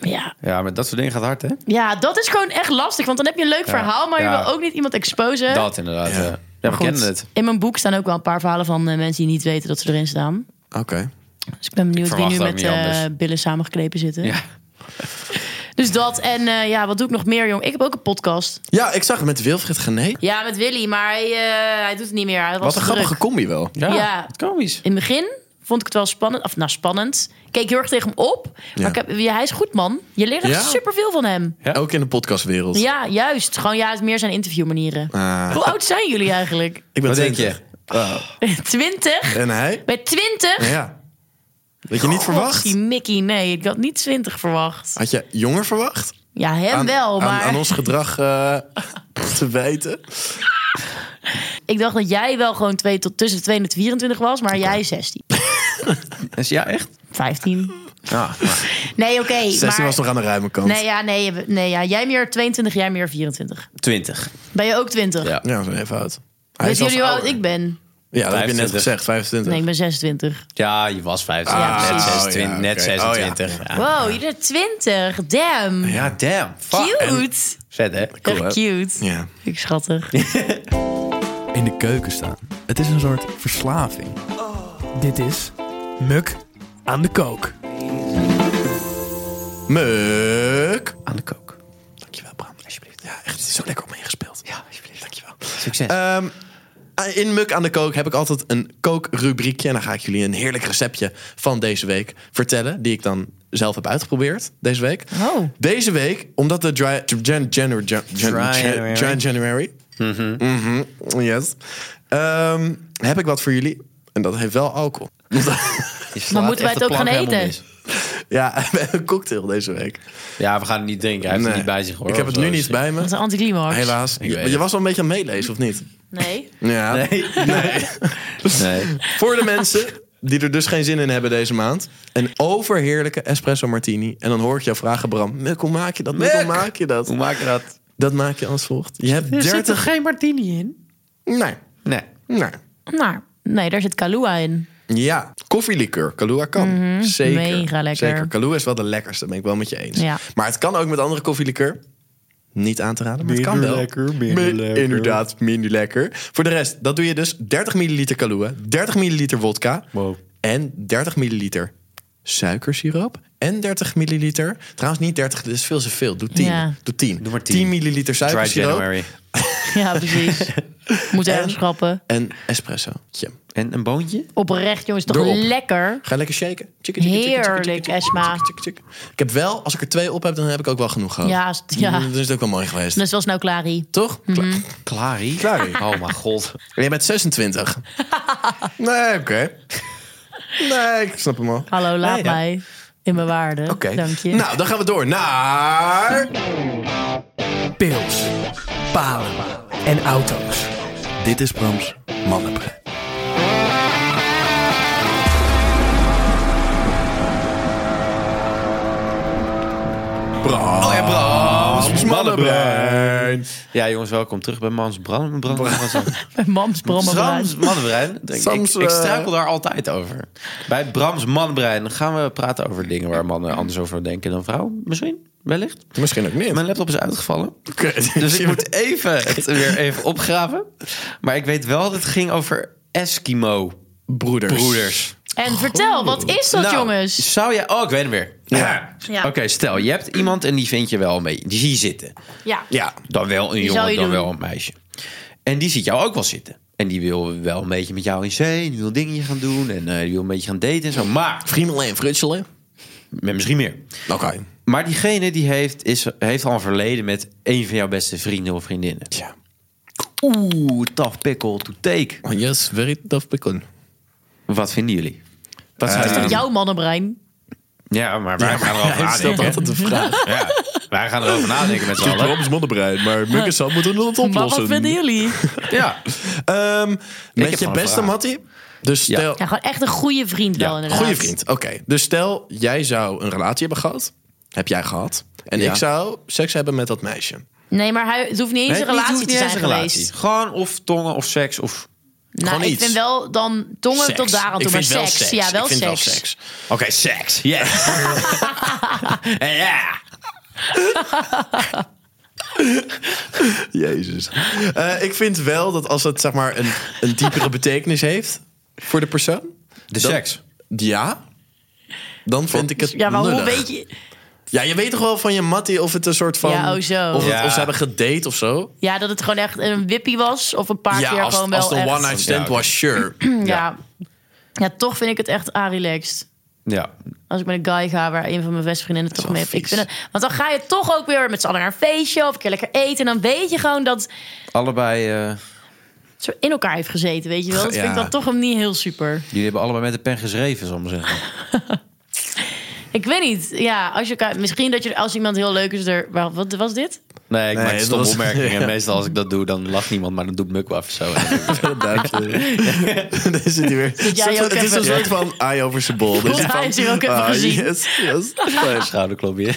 Speaker 3: ja,
Speaker 2: Ja, maar dat soort dingen gaat hard, hè?
Speaker 3: ja dat is gewoon echt lastig. Want dan heb je een leuk verhaal, maar
Speaker 2: ja.
Speaker 3: je wil ook niet iemand exposen.
Speaker 2: Dat inderdaad.
Speaker 1: Ja.
Speaker 2: Ja, ja. we
Speaker 3: Goed.
Speaker 2: kennen het.
Speaker 3: In mijn boek staan ook wel een paar verhalen van eh, mensen die niet weten dat ze erin staan.
Speaker 1: Oké.
Speaker 3: Dus ik ben benieuwd wie
Speaker 2: verwacht
Speaker 3: nu
Speaker 2: ook
Speaker 3: met
Speaker 2: niet anders.
Speaker 3: eh, billen samengeknepen zitten.
Speaker 2: Ja.
Speaker 3: Dus dat en eh, ja, wat doe ik nog meer, jong? Ik heb ook een podcast.
Speaker 1: Ja, ik zag het met Wilfried Gené.
Speaker 3: Ja, met Willy, maar hij, eh, hij doet het niet meer. Hij was
Speaker 1: Wat
Speaker 3: te
Speaker 1: een grappige
Speaker 3: druk.
Speaker 1: combi wel.
Speaker 2: Ja,
Speaker 3: Ja.
Speaker 2: wat komisch.
Speaker 3: In het begin vond ik het wel spannend. Of nou, spannend. Ik keek heel erg tegen hem op. Maar ik heb, ja, hij is goed, man. Je leert echt
Speaker 1: Ja?
Speaker 3: superveel van hem.
Speaker 2: Ja.
Speaker 1: Ook in de podcastwereld.
Speaker 3: Ja, juist. Gewoon ja, het is meer zijn interviewmanieren.
Speaker 1: Ah,
Speaker 3: Hoe oud zijn jullie eigenlijk?
Speaker 1: ik ben
Speaker 2: Wat denk
Speaker 1: 20.
Speaker 2: je?
Speaker 3: Twintig?
Speaker 1: En hij?
Speaker 3: Bij twintig?
Speaker 1: Ja. Dat je niet verwacht?
Speaker 3: Die Mickey, nee, ik had niet twintig verwacht.
Speaker 1: Had je jonger verwacht?
Speaker 3: Ja, hem
Speaker 1: Aan-
Speaker 3: wel,
Speaker 1: aan-
Speaker 3: maar
Speaker 1: Aan, ons gedrag eh, te wijten.
Speaker 3: ik dacht dat jij wel gewoon twee tot, tussen de 2 en de 24 was, maar jij 16,
Speaker 2: Is- Ja, echt?
Speaker 3: 15.
Speaker 2: Ja, maar-
Speaker 3: Nee, oké.
Speaker 1: 16
Speaker 3: maar...
Speaker 1: was nog aan de ruime kant.
Speaker 3: Nee, ja, nee, je- nee ja. jij meer 22, jij meer 24.
Speaker 2: 20.
Speaker 3: Ben je ook 20?
Speaker 2: Ja.
Speaker 1: Ja, zo even oud. Hij
Speaker 3: Weet
Speaker 1: is zelfs
Speaker 3: jullie hoe oud
Speaker 1: ouder.
Speaker 3: ik ben?
Speaker 1: Ja, dat heb je net
Speaker 2: 25.
Speaker 1: gezegd, 25.
Speaker 3: Nee, ik ben 26.
Speaker 2: Ja, je was 15.
Speaker 3: Ah,
Speaker 2: net
Speaker 3: precies.
Speaker 2: 26.
Speaker 1: Oh, ja,
Speaker 2: net
Speaker 1: oké.
Speaker 2: 26. Ja.
Speaker 3: Wow, je bent 20. Damn.
Speaker 2: Ja, damn. Fuck.
Speaker 3: Cute.
Speaker 2: Vet, hè?
Speaker 1: cool,
Speaker 3: Echt
Speaker 1: hè?
Speaker 3: cute.
Speaker 1: Ja.
Speaker 3: Ik schattig.
Speaker 5: in de keuken staan. Het is een soort verslaving.
Speaker 4: Dit is Muk aan de Kook.
Speaker 1: Muk.
Speaker 2: Aan de kook.
Speaker 1: Dankjewel, Bram. Alsjeblieft. Ja, echt zo lekker op me ingespeeld. Ja, alsjeblieft. Dankjewel.
Speaker 2: Succes.
Speaker 1: Ehm, in Muk aan de Kook heb ik altijd een kookrubriekje. En dan ga ik jullie een heerlijk receptje van deze week vertellen. Die ik dan zelf heb uitgeprobeerd deze week.
Speaker 3: Oh.
Speaker 1: Deze week, omdat de dry, Jan- January, Jan- Jan-
Speaker 2: January.
Speaker 1: Jan- January. Mhm, Yes. Ehm, heb ik wat voor jullie. En dat heeft wel alcohol.
Speaker 3: Maar moeten wij het ook gaan eten?
Speaker 1: Ja, een cocktail deze week.
Speaker 2: Ja, we gaan het niet drinken. Hij heeft
Speaker 1: Nee.
Speaker 2: het niet bij zich, hoor.
Speaker 1: Ik heb het
Speaker 2: Of
Speaker 1: nu
Speaker 2: zo.
Speaker 1: niet bij me.
Speaker 3: Dat is een anticlimax.
Speaker 1: Helaas.
Speaker 2: Ik
Speaker 1: Je,
Speaker 2: weet
Speaker 1: je
Speaker 2: het.
Speaker 1: was al een beetje aan het meelezen, of niet?
Speaker 3: Nee.
Speaker 1: Ja.
Speaker 2: Nee. Nee. nee.
Speaker 1: Voor de mensen die er dus geen zin in hebben deze maand. Een overheerlijke espresso martini. En dan hoor ik jou vragen, Bram. Muk, hoe maak je dat? Muk, hoe
Speaker 2: Muk!
Speaker 1: maak je dat?
Speaker 2: Hoe maak je dat?
Speaker 1: Dat maak je als volgt. Je hebt 30...
Speaker 2: geen martini in?
Speaker 1: Nee,
Speaker 2: Nee.
Speaker 1: nee.
Speaker 3: Nou, nee, daar zit Kalua in.
Speaker 1: Ja, koffielikeur. Kahlua kan. Zeker.
Speaker 3: Mhm, mega lekker.
Speaker 1: Zeker. Kahlua is wel de lekkerste, ben ik wel met je eens.
Speaker 3: Ja.
Speaker 1: Maar het kan ook met andere koffielikeur. Niet aan te raden, maar het kan
Speaker 2: Minder
Speaker 1: wel.
Speaker 2: lekker, minder
Speaker 1: Mi-
Speaker 2: lekker.
Speaker 1: Inderdaad, minder lekker. Voor de rest, dat doe je dus 30 milliliter Kahlua, 30 milliliter wodka
Speaker 2: Wow.
Speaker 1: en 30 milliliter suikersiroop en 30 milliliter. Trouwens niet 30, dit is veel te veel. Doe 10.
Speaker 3: Ja.
Speaker 1: Doe 10.
Speaker 2: Doe maar 10.
Speaker 1: 10 milliliter
Speaker 2: Dry
Speaker 1: suikersiroop
Speaker 2: January.
Speaker 3: Ja, precies. Moet ergens
Speaker 1: En?
Speaker 3: schrappen.
Speaker 1: en espresso. Tje.
Speaker 2: En een boontje?
Speaker 3: Oprecht, jongens, toch
Speaker 1: Erop.
Speaker 3: lekker.
Speaker 1: Ga lekker shaken. Tjik, tjik, tjik, tjik, tjik, tjik,
Speaker 3: Heerlijk,
Speaker 1: tjik, tjik,
Speaker 3: Esma.
Speaker 1: tjik, tjik. Ik heb wel, als ik er twee op heb, dan heb ik ook wel genoeg gehad. Mm,
Speaker 3: Ja, st- ja.
Speaker 1: Dan is het ook wel mooi geweest.
Speaker 3: Dus was nou Clary.
Speaker 1: Toch? Kla-
Speaker 2: Clary?
Speaker 1: Clary.
Speaker 2: Oh mijn god.
Speaker 1: En jij bent 26. nee, oké. Nee, ik snap hem al.
Speaker 3: Hallo, laat
Speaker 1: Nee, ja.
Speaker 3: mij in mijn waarde.
Speaker 1: Oké.
Speaker 3: Dank je.
Speaker 1: Nou, dan gaan we door naar...
Speaker 4: Pils, palen en auto's.
Speaker 5: Dit is Brams Mannenbrein.
Speaker 1: Bram.
Speaker 2: Oh ja, Brams.
Speaker 1: Mannenbrein.
Speaker 2: Ja, jongens, welkom terug bij Mans Brand. Brand.
Speaker 3: Mams brommenbruin.
Speaker 2: Brams Mannenbrein. Ik,
Speaker 1: Sams,
Speaker 2: ik, ik
Speaker 1: eh,
Speaker 2: struikel daar altijd over. Bij Brams Mannenbrein gaan we praten over dingen waar mannen anders over denken dan vrouwen. Misschien? wellicht.
Speaker 1: Misschien ook niet.
Speaker 2: Mijn laptop is uitgevallen.
Speaker 1: Kut.
Speaker 2: Dus ik moet even het weer even opgraven. Maar ik weet wel dat het ging over Eskimo
Speaker 1: broeders.
Speaker 2: broeders.
Speaker 3: En
Speaker 1: Oh.
Speaker 3: vertel, wat is dat,
Speaker 2: Nou,
Speaker 3: jongens?
Speaker 2: Zou jij... Oh, ik weet hem weer.
Speaker 1: Ja.
Speaker 3: Ja.
Speaker 2: Oké, stel, je hebt iemand en die vind je wel mee. Die zie je zitten.
Speaker 3: Ja.
Speaker 1: Ja.
Speaker 2: Dan wel een
Speaker 3: zou
Speaker 2: jongen,
Speaker 3: je
Speaker 2: dan
Speaker 3: doen.
Speaker 2: wel een meisje. En die ziet jou ook wel zitten. En die wil wel een beetje met jou in zee. Die wil dingetjes gaan doen. En eh, die wil een beetje gaan daten en zo. Maar,
Speaker 1: Friemelen en frutselen.
Speaker 2: met misschien meer.
Speaker 1: Oké.
Speaker 2: Maar diegene die heeft, is, heeft al een verleden met een van jouw beste vrienden of vriendinnen.
Speaker 1: Ja.
Speaker 2: Oeh, tough pickle to take.
Speaker 1: Yes, very tough pickle.
Speaker 2: Wat vinden jullie? Wat zou
Speaker 3: Is
Speaker 2: je
Speaker 3: dat
Speaker 2: doen?
Speaker 3: jouw mannenbrein?
Speaker 2: Ja, maar wij gaan erover
Speaker 1: Hij stelt
Speaker 2: nadenken.
Speaker 1: altijd een vraag.
Speaker 2: Ja, wij gaan erover nadenken met z'n
Speaker 1: Het
Speaker 2: allen.
Speaker 1: is mannenbrein, maar Muk en Sam moeten dat
Speaker 3: Maar
Speaker 1: oplossen.
Speaker 3: wat vinden jullie?
Speaker 2: Ja.
Speaker 1: Ehm, met
Speaker 2: heb
Speaker 1: je
Speaker 2: gewoon een
Speaker 1: beste
Speaker 2: vraag.
Speaker 1: Mattie. Dus
Speaker 2: Ja.
Speaker 1: stel...
Speaker 3: Ja, gewoon echt een goede vriend wel, inderdaad.
Speaker 1: Goeie vriend. Oké. Dus stel, jij zou een relatie hebben gehad. Heb jij gehad. En
Speaker 2: Ja.
Speaker 1: ik zou seks hebben met dat meisje.
Speaker 3: Nee, maar hij, het hoeft niet eens
Speaker 2: Nee,
Speaker 3: een relatie
Speaker 2: het hoeft
Speaker 3: te
Speaker 2: niet
Speaker 3: zijn
Speaker 2: eens een relatie.
Speaker 3: geweest.
Speaker 2: Gewoon of tongen of seks of...
Speaker 3: Nou,
Speaker 1: Gewoon
Speaker 3: ik
Speaker 1: iets.
Speaker 3: vind wel dan tongen
Speaker 1: Seks.
Speaker 3: tot daar aan
Speaker 1: Ik
Speaker 3: toe, maar
Speaker 1: vind wel
Speaker 3: seks. Ja, wel
Speaker 1: ik vind
Speaker 3: seks.
Speaker 1: wel seks.
Speaker 2: Oké, seks. Yes. En ja.
Speaker 1: Jezus. Eh, ik vind wel dat als het zeg maar een, een diepere betekenis heeft voor de persoon.
Speaker 2: De
Speaker 1: dan-
Speaker 2: seks.
Speaker 1: Ja. Dan vind ik het
Speaker 3: Ja, maar hoe
Speaker 1: lullig.
Speaker 3: weet je...
Speaker 1: Ja, je weet toch wel van je mattie of het een soort van...
Speaker 3: Ja, oh zo.
Speaker 1: Of, het-
Speaker 2: Ja.
Speaker 1: of ze hebben gedate of zo.
Speaker 3: Ja, dat het gewoon echt een wippie was. Of een paar
Speaker 1: ja,
Speaker 3: keer
Speaker 1: als,
Speaker 3: gewoon
Speaker 1: als
Speaker 3: wel
Speaker 1: de
Speaker 3: echt...
Speaker 1: one-night stand
Speaker 2: Ja, oké.
Speaker 1: was, sure.
Speaker 3: ja. ja, toch vind ik het echt relaxed
Speaker 2: Ja.
Speaker 3: Als ik met een guy ga waar een van mijn beste vriendinnen toch
Speaker 1: wel
Speaker 3: mee heeft. Ik
Speaker 1: vies.
Speaker 3: vind het, want dan ga je toch ook weer met z'n allen naar een feestje... of een keer lekker eten. En dan weet je gewoon dat het
Speaker 2: Allebei... eh,
Speaker 3: zo in elkaar heeft gezeten, weet je wel. Dat vind ik
Speaker 1: Ja.
Speaker 3: dan toch hem niet heel super.
Speaker 2: jullie hebben allebei met de pen geschreven, zal ik maar zeggen.
Speaker 3: Ik weet niet. Ja, als je elkaar, misschien dat je als iemand heel leuk is er. wa- Wat was dit?
Speaker 2: Nee, ik
Speaker 1: Nee,
Speaker 2: maak
Speaker 1: dat
Speaker 2: stomme
Speaker 1: was-
Speaker 2: opmerkingen.
Speaker 1: Ja.
Speaker 2: En meestal als ik dat doe, dan lacht niemand. Maar dan doet Muk wel even zo.
Speaker 1: Dank je. Daar zit hij weer.
Speaker 3: jij
Speaker 1: Soort- het
Speaker 3: ook
Speaker 1: is
Speaker 3: even-
Speaker 1: een soort van eye over zijn bol. Dus
Speaker 3: Volgens mij is hij ook even
Speaker 1: ah,
Speaker 3: gezien.
Speaker 1: yes, yes.
Speaker 2: Schouderklopje.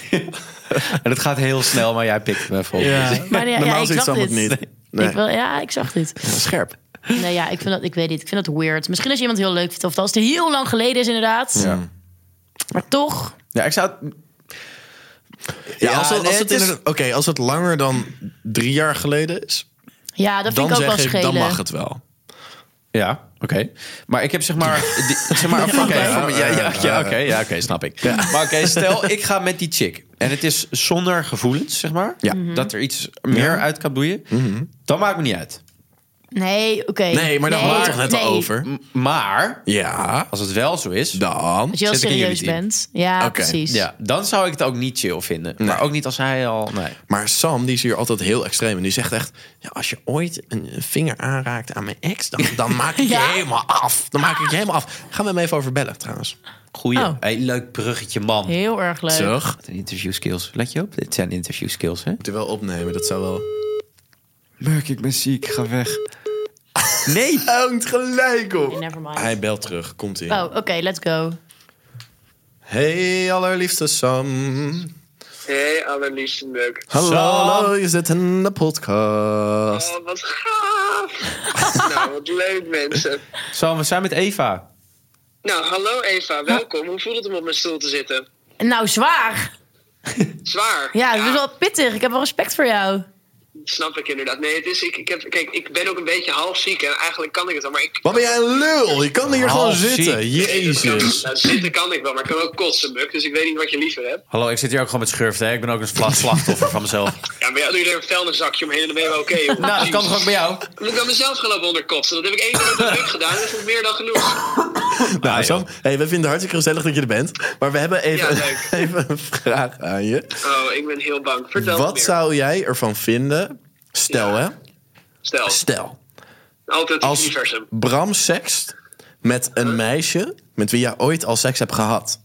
Speaker 2: en het gaat heel snel, maar jij pikt me vol.
Speaker 1: Ja.
Speaker 3: Maar ja,
Speaker 1: Normaal
Speaker 3: ik
Speaker 1: ziet
Speaker 3: zag
Speaker 1: Sam het
Speaker 3: dit.
Speaker 1: niet. Nee.
Speaker 3: Ik wel, ja, ik zag dit.
Speaker 1: Scherp.
Speaker 3: Nee, ja, ik vind dat, ik weet niet. Ik vind dat weird. Misschien als je iemand heel leuk vindt, of als het heel lang geleden is, inderdaad.
Speaker 2: Ja.
Speaker 3: Maar toch,
Speaker 2: Ja, ik zou het...
Speaker 1: Ja, als het,
Speaker 2: nee,
Speaker 1: als het,
Speaker 2: het is-
Speaker 1: inderdaad- Oké, als het langer dan drie jaar geleden is,
Speaker 3: ja, dat vind
Speaker 1: dan
Speaker 3: ik ook wel
Speaker 1: zeg ik,
Speaker 3: schelen.
Speaker 1: dan mag het wel.
Speaker 2: Ja, oké. Maar ik heb zeg maar... die- zeg maar oké, ja, ja, ja, ja, oké, ja, oké, snap ik. Maar oké, stel ik ga met die chick. En het is zonder gevoelens, zeg maar.
Speaker 1: Ja.
Speaker 2: Dat er iets meer uit kan boeien. Dan maakt me niet uit.
Speaker 3: Nee, oké.
Speaker 1: Nee, maar daar hadden we het toch net al
Speaker 3: nee.
Speaker 1: over?
Speaker 2: M- Maar
Speaker 1: Ja,
Speaker 2: als het wel zo is...
Speaker 1: dan.
Speaker 3: Dat je heel
Speaker 2: Zit ik in jullie
Speaker 3: serieus
Speaker 2: team?
Speaker 3: bent. Ja,
Speaker 1: Oké,
Speaker 3: precies.
Speaker 2: Ja, dan zou ik het ook niet chill vinden. Maar ook niet als hij al... Nee.
Speaker 1: Maar Sam, die is hier altijd heel extreem. En die zegt echt, ja, als je ooit een een vinger aanraakt aan mijn ex, dan, dan maak ik
Speaker 3: Ja?
Speaker 1: je helemaal af. Dan maak ik je helemaal af. Gaan we hem even over bellen, trouwens.
Speaker 2: Goeie.
Speaker 3: Oh.
Speaker 2: Hey, leuk bruggetje, man.
Speaker 3: Heel erg leuk.
Speaker 1: Terug.
Speaker 2: Wat een Interview skills. Let je op, dit zijn interview skills, hè?
Speaker 1: Moet je wel opnemen, dat zou wel...
Speaker 2: Merk, ik ben ziek. Ga weg. Nee.
Speaker 1: Hangt gelijk
Speaker 3: Nee,
Speaker 1: op.
Speaker 3: never mind.
Speaker 1: Hij belt terug, komt ie.
Speaker 3: Oh, oké, let's go.
Speaker 1: Hey, allerliefste Sam.
Speaker 6: Hey, allerliefste Muk.
Speaker 1: Hallo,
Speaker 2: Sam.
Speaker 1: hallo, je zit in de podcast.
Speaker 6: Oh, wat gaaf. nou, wat leuk, mensen.
Speaker 2: Sam, we zijn met Eva.
Speaker 6: Nou, hallo Eva, welkom. Hoe voelt het om op mijn stoel te zitten?
Speaker 3: Nou, zwaar.
Speaker 6: Zwaar.
Speaker 3: Ja, het is wel pittig. Ik heb wel respect voor jou.
Speaker 6: Snap ik inderdaad. Nee, het is, ik, ik heb, kijk, ik ben ook een beetje half ziek en eigenlijk kan ik het al, maar ik...
Speaker 1: Wat ben jij een lul? Je kan hier
Speaker 2: Oh,
Speaker 1: gewoon
Speaker 2: shit.
Speaker 1: zitten. Jezus.
Speaker 6: Nou, zitten kan ik wel, maar ik kan ook kotsen, Muk, dus ik weet niet wat je liever hebt.
Speaker 2: Hallo, ik zit hier ook gewoon met schurft, hè? Ik ben ook een vla- slachtoffer van mezelf.
Speaker 6: Ja, maar jij doet er een vuilniszakje omheen en dan ben je wel oké, joh.
Speaker 2: Nou, dat kan toch ook bij jou?
Speaker 6: Moet ik aan mezelf gaan lopen onder kotsen? Dat heb ik één keer met Muk gedaan, dus dat is meer dan genoeg.
Speaker 1: Nou, Sam, hey, we vinden het hartstikke gezellig dat je er bent. Maar we hebben even,
Speaker 6: Ja, leuk.
Speaker 1: even een vraag aan je.
Speaker 6: Oh, ik ben heel bang. Vertel
Speaker 1: Wat
Speaker 6: meer.
Speaker 1: zou jij ervan vinden? Stel,
Speaker 6: Ja.
Speaker 1: hè?
Speaker 6: Stel,
Speaker 1: Stel,
Speaker 6: altijd het
Speaker 1: als
Speaker 6: universum.
Speaker 1: Bram sekst met een meisje met wie jij ooit al seks hebt gehad.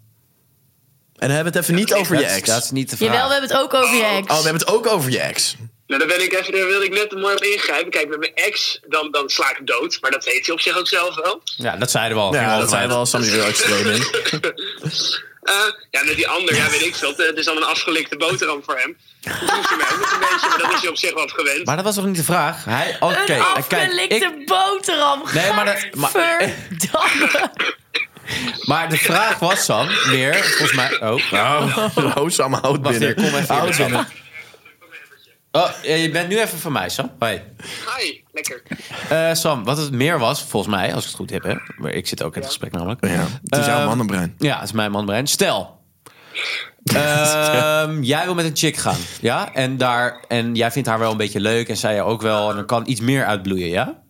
Speaker 1: En dan hebben we het even niet over je
Speaker 2: Dat is- Dat
Speaker 1: ex.
Speaker 2: is niet de vraag.
Speaker 3: Jawel, we hebben het ook over je ex.
Speaker 1: Oh, we hebben het ook over je ex.
Speaker 6: Nou, daar, ben ik even, daar wil ik net mooi op ingrijpen. Kijk, met mijn ex, dan, dan sla ik hem dood. Maar dat weet hij op zich ook zelf wel.
Speaker 2: Ja, dat zeiden we al. Ging
Speaker 1: Ja, dat
Speaker 2: over
Speaker 1: zijn
Speaker 2: uit.
Speaker 1: wel Sam heel extreem in.
Speaker 6: Eh, ja, met die ander, ja, weet ik veel. Het is dan een afgelikte boterham voor hem. Dat hoeft hij mij ook nog een beetje, maar dat is hij op zich wel gewend.
Speaker 2: Maar dat was toch niet de vraag? Hij... oh, Oké, eh,
Speaker 3: Een
Speaker 1: eh,
Speaker 2: kijk.
Speaker 3: afgelikte
Speaker 2: Ik...
Speaker 3: boterham.
Speaker 2: Nee, maar dat- maar-
Speaker 3: Gadverdamme.
Speaker 2: Maar de vraag was, Sam, weer, volgens mij... Oh, oh.
Speaker 1: Oh, Sam, houd
Speaker 2: Wacht,
Speaker 1: binnen.
Speaker 2: hier, kom even
Speaker 1: Houd
Speaker 2: hier,
Speaker 1: binnen.
Speaker 2: oh ja, je bent nu even van mij, Sam. Hoi.
Speaker 6: Hi, lekker.
Speaker 2: Eh, Sam, wat het meer was, volgens mij, als ik het goed heb, hè? maar ik zit ook in het gesprek namelijk.
Speaker 1: Ja, het is jouw
Speaker 2: Ehm,
Speaker 1: mannenbrein.
Speaker 2: Ja, het is mijn manbrein. Stel, ehm, jij wil met een chick gaan, ja? En, daar, en jij vindt haar wel een beetje leuk en zij jou ook wel. En er kan iets meer uitbloeien, ja?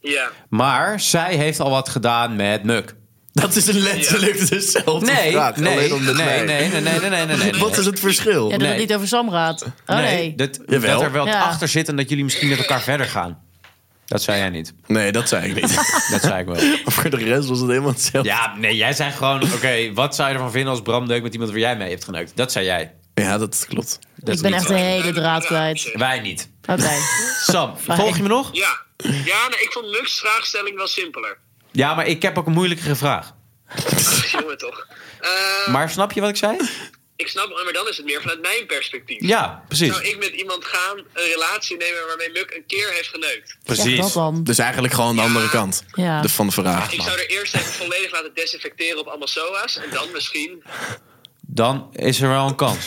Speaker 6: Ja.
Speaker 2: Maar zij heeft al wat gedaan met Muk.
Speaker 1: Dat is een letterlijk dezelfde
Speaker 2: Nee,
Speaker 1: vraag.
Speaker 2: nee,
Speaker 1: alleen
Speaker 2: nee,
Speaker 1: omdat
Speaker 2: nee,
Speaker 1: wij-
Speaker 2: nee, nee, nee, nee, nee, nee, nee.
Speaker 1: Wat is het verschil?
Speaker 3: Ja, dat
Speaker 2: Nee.
Speaker 3: het niet over Sam gaat. Oh nee.
Speaker 2: dat, dat
Speaker 1: Jawel.
Speaker 2: er wel
Speaker 3: Ja.
Speaker 2: achter zit en dat jullie misschien met elkaar verder gaan. Dat zei jij niet.
Speaker 1: Nee, dat zei ik niet.
Speaker 2: Dat zei ik wel.
Speaker 1: Maar Voor de rest was het helemaal hetzelfde.
Speaker 2: Ja, nee, jij zei gewoon... Oké, wat zou je ervan vinden als Bram neukt met iemand waar jij mee hebt geneukt? Dat zei jij.
Speaker 1: Ja, dat klopt.
Speaker 2: Dat
Speaker 3: ik ben
Speaker 2: niet
Speaker 3: echt de hele draad kwijt.
Speaker 2: Wij niet.
Speaker 3: Oké.
Speaker 2: Sam, volg je me nog?
Speaker 6: Ja, ja nou, ik vond Mux' vraagstelling wel simpeler.
Speaker 2: Ja, maar ik heb ook een moeilijkere vraag.
Speaker 6: Ach, jongen toch. Eh,
Speaker 2: Maar snap je wat ik zei?
Speaker 6: Ik snap, maar dan is het meer vanuit mijn perspectief.
Speaker 2: Ja,
Speaker 6: Zou
Speaker 2: precies.
Speaker 6: ik met iemand gaan, een relatie nemen waarmee Muk een keer heeft geneukt?
Speaker 3: Zeg dat dan.
Speaker 1: Dus eigenlijk gewoon de andere kant
Speaker 3: Ja.
Speaker 1: de, van de vraag.
Speaker 6: Ik zou er eerst even volledig laten desinfecteren op allemaal SOA's. En dan misschien...
Speaker 2: Dan is er wel een kans.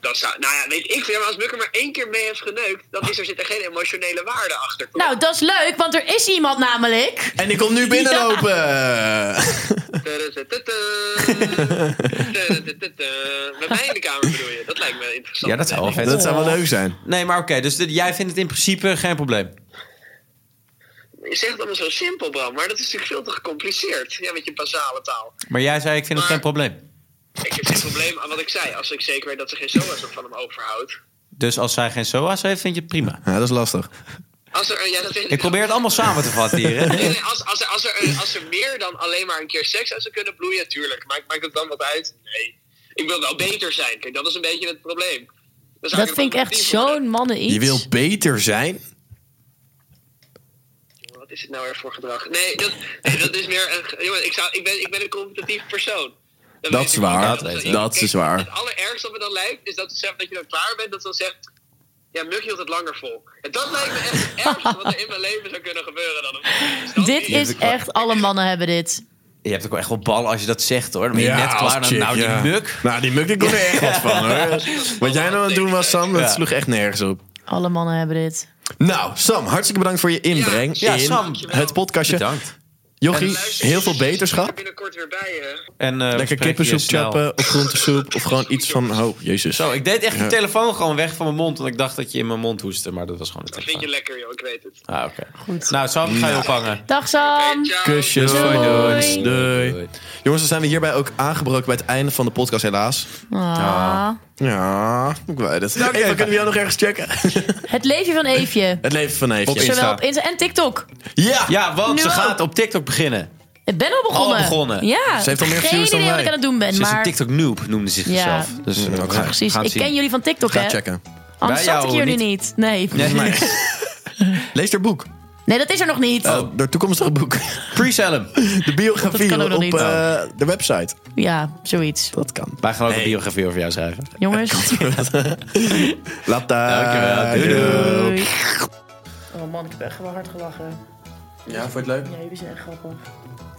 Speaker 6: Dat zou, nou ja, weet ik veel. Maar als Muk er maar één keer mee heeft geneukt... dan is er, zit er geen emotionele waarde achter.
Speaker 3: Nou, dat is leuk, want er is iemand namelijk.
Speaker 1: En ik kom nu binnenlopen.
Speaker 6: eh, Met mij in de kamer bedoel je? Dat lijkt me interessant.
Speaker 2: Ja, dat zou wel vet
Speaker 1: Dat
Speaker 2: zijn.
Speaker 1: zou wel leuk zijn.
Speaker 2: Nee, maar oké, dus dit- jij vindt het in principe geen probleem.
Speaker 6: Je zegt het allemaal zo simpel, Bram. Maar dat is natuurlijk veel te gecompliceerd. Ja, met je basale taal.
Speaker 2: Maar jij zei, ik vind het geen probleem.
Speaker 6: Ik heb geen probleem aan wat ik zei. Als ik zeker weet dat ze geen SOA's op van hem overhoudt.
Speaker 2: Dus als zij geen SOA's heeft, vind je het prima.
Speaker 1: Ja, dat is lastig.
Speaker 6: Als er, ja, dat weet
Speaker 2: Ik probeer het allemaal samen te vatten hier, hè?
Speaker 6: Nee, nee, als, als, er, als, er, als er meer dan alleen maar een keer seks uit zou kunnen bloeien, tuurlijk. Maakt, maakt het dan wat uit? Nee. Ik wil wel beter zijn. Kijk, dat is een beetje het probleem. Dan zou
Speaker 3: Dat
Speaker 6: een
Speaker 3: vind ik echt
Speaker 6: alternatief moeten
Speaker 3: zo'n mannen iets.
Speaker 1: Je wil beter zijn.
Speaker 6: hebben. Wat is het nou weer voor gedrag? Nee, dat, nee, dat is meer... Een, ge- jongen, ik, zou, ik, ben, ik ben een competitief persoon. Dan
Speaker 1: Dat
Speaker 6: weet
Speaker 1: is
Speaker 6: ik wel
Speaker 1: waar.
Speaker 6: als-
Speaker 1: Dat
Speaker 6: ik-
Speaker 1: dat
Speaker 6: kijk,
Speaker 1: is waar.
Speaker 6: Het allerergste wat me dan lijkt, is dat, ze zeggen dat je dan klaar bent. Dat ze dan zegt, ja, Muk hield het langer vol. En dat lijkt me echt het ergste wat er in mijn leven zou kunnen gebeuren dan. Dus dat-
Speaker 3: Dit is echt, alle mannen hebben dit.
Speaker 2: Je hebt ook wel echt wel ballen als je dat zegt, hoor. Dan ben je
Speaker 1: Ja,
Speaker 2: net
Speaker 1: als
Speaker 2: klaar. Dan,
Speaker 1: chick,
Speaker 2: nou, die
Speaker 1: ja.
Speaker 2: muk.
Speaker 1: Nou, die muk, die kon er echt wat van hoor. Wat jij nou aan het doen was, Sam, dat
Speaker 2: Ja.
Speaker 1: sloeg echt nergens op.
Speaker 3: Alle mannen hebben dit.
Speaker 1: Nou, Sam, hartstikke bedankt voor je inbreng
Speaker 2: Ja,
Speaker 1: in
Speaker 2: Sam,
Speaker 1: het podcastje.
Speaker 2: Bedankt.
Speaker 1: Jochie,
Speaker 6: Luister,
Speaker 1: heel veel
Speaker 6: Ik ben
Speaker 1: beterschap.
Speaker 6: binnenkort weer bij je.
Speaker 2: En, eh, we
Speaker 1: Lekker
Speaker 2: spreken je
Speaker 1: kippensoep
Speaker 2: snel.
Speaker 1: chappen of groentesoep of gewoon iets van... Oh, jezus.
Speaker 2: Zo, ik deed echt de telefoon gewoon weg van mijn mond. Want ik dacht dat je in mijn mond hoestte. Maar dat was gewoon het
Speaker 6: Dat vind je lekker, joh. Ik weet het.
Speaker 2: Ah, oké. Nou, Sam, ga je ophangen.
Speaker 3: Dag Sam.
Speaker 6: Ciao.
Speaker 1: Kusjes. Doei.
Speaker 3: Doei.
Speaker 1: Doei. Jongens, dan zijn we hierbij ook aangebroken bij het einde van de podcast helaas.
Speaker 3: Ah.
Speaker 1: Ja, ik weet het. Even, kunnen we jou nog ergens checken?
Speaker 3: Het leven van Eefje.
Speaker 1: Het leven van
Speaker 2: Op
Speaker 1: Eefje.
Speaker 2: in- Insta.
Speaker 3: Zowel op Insta en TikTok.
Speaker 1: Ja!
Speaker 2: Ja, want
Speaker 3: Nu
Speaker 2: ze
Speaker 3: ook.
Speaker 2: gaat op TikTok beginnen.
Speaker 3: Ik ben al Nou. begonnen.
Speaker 2: Al begonnen.
Speaker 3: Ja.
Speaker 1: Ze heeft al meer
Speaker 3: Geen
Speaker 1: views dan
Speaker 3: idee wat
Speaker 1: wij.
Speaker 3: ik aan het doen ben.
Speaker 2: Ze is een
Speaker 3: Maar
Speaker 2: TikTok noob, noemde ze
Speaker 3: Ja.
Speaker 2: zichzelf. Dus
Speaker 1: Mm,
Speaker 2: eh,
Speaker 1: ook
Speaker 2: we
Speaker 1: gaaf.
Speaker 2: gaan
Speaker 3: precies,
Speaker 2: het
Speaker 3: ik
Speaker 2: zien.
Speaker 3: ken jullie van TikTok
Speaker 1: Ga
Speaker 3: hè.
Speaker 1: checken.
Speaker 3: Anders
Speaker 2: Wij
Speaker 3: zat ik
Speaker 2: jou
Speaker 3: hier nu
Speaker 2: niet.
Speaker 3: niet. Nee.
Speaker 2: Nee,
Speaker 3: nee.
Speaker 1: Lees haar boek.
Speaker 3: dat is er nog niet.
Speaker 2: Oh.
Speaker 1: Eh, haar toekomstige boek.
Speaker 2: Pre-sell hem.
Speaker 1: De biografie
Speaker 3: Dat kan ook nog
Speaker 1: op
Speaker 3: niet.
Speaker 1: eh, de website.
Speaker 3: Ja, zoiets.
Speaker 1: Dat kan.
Speaker 2: Wij gaan ook
Speaker 1: Hey.
Speaker 2: een biografie over jou schrijven.
Speaker 3: Jongens.
Speaker 2: Oh.
Speaker 1: Later.
Speaker 2: Dankjewel. Doei,
Speaker 3: Doei. Oh man, ik heb echt wel hard gelachen.
Speaker 1: Ja, vond je het leuk?
Speaker 3: Ja, jullie zijn echt grappig.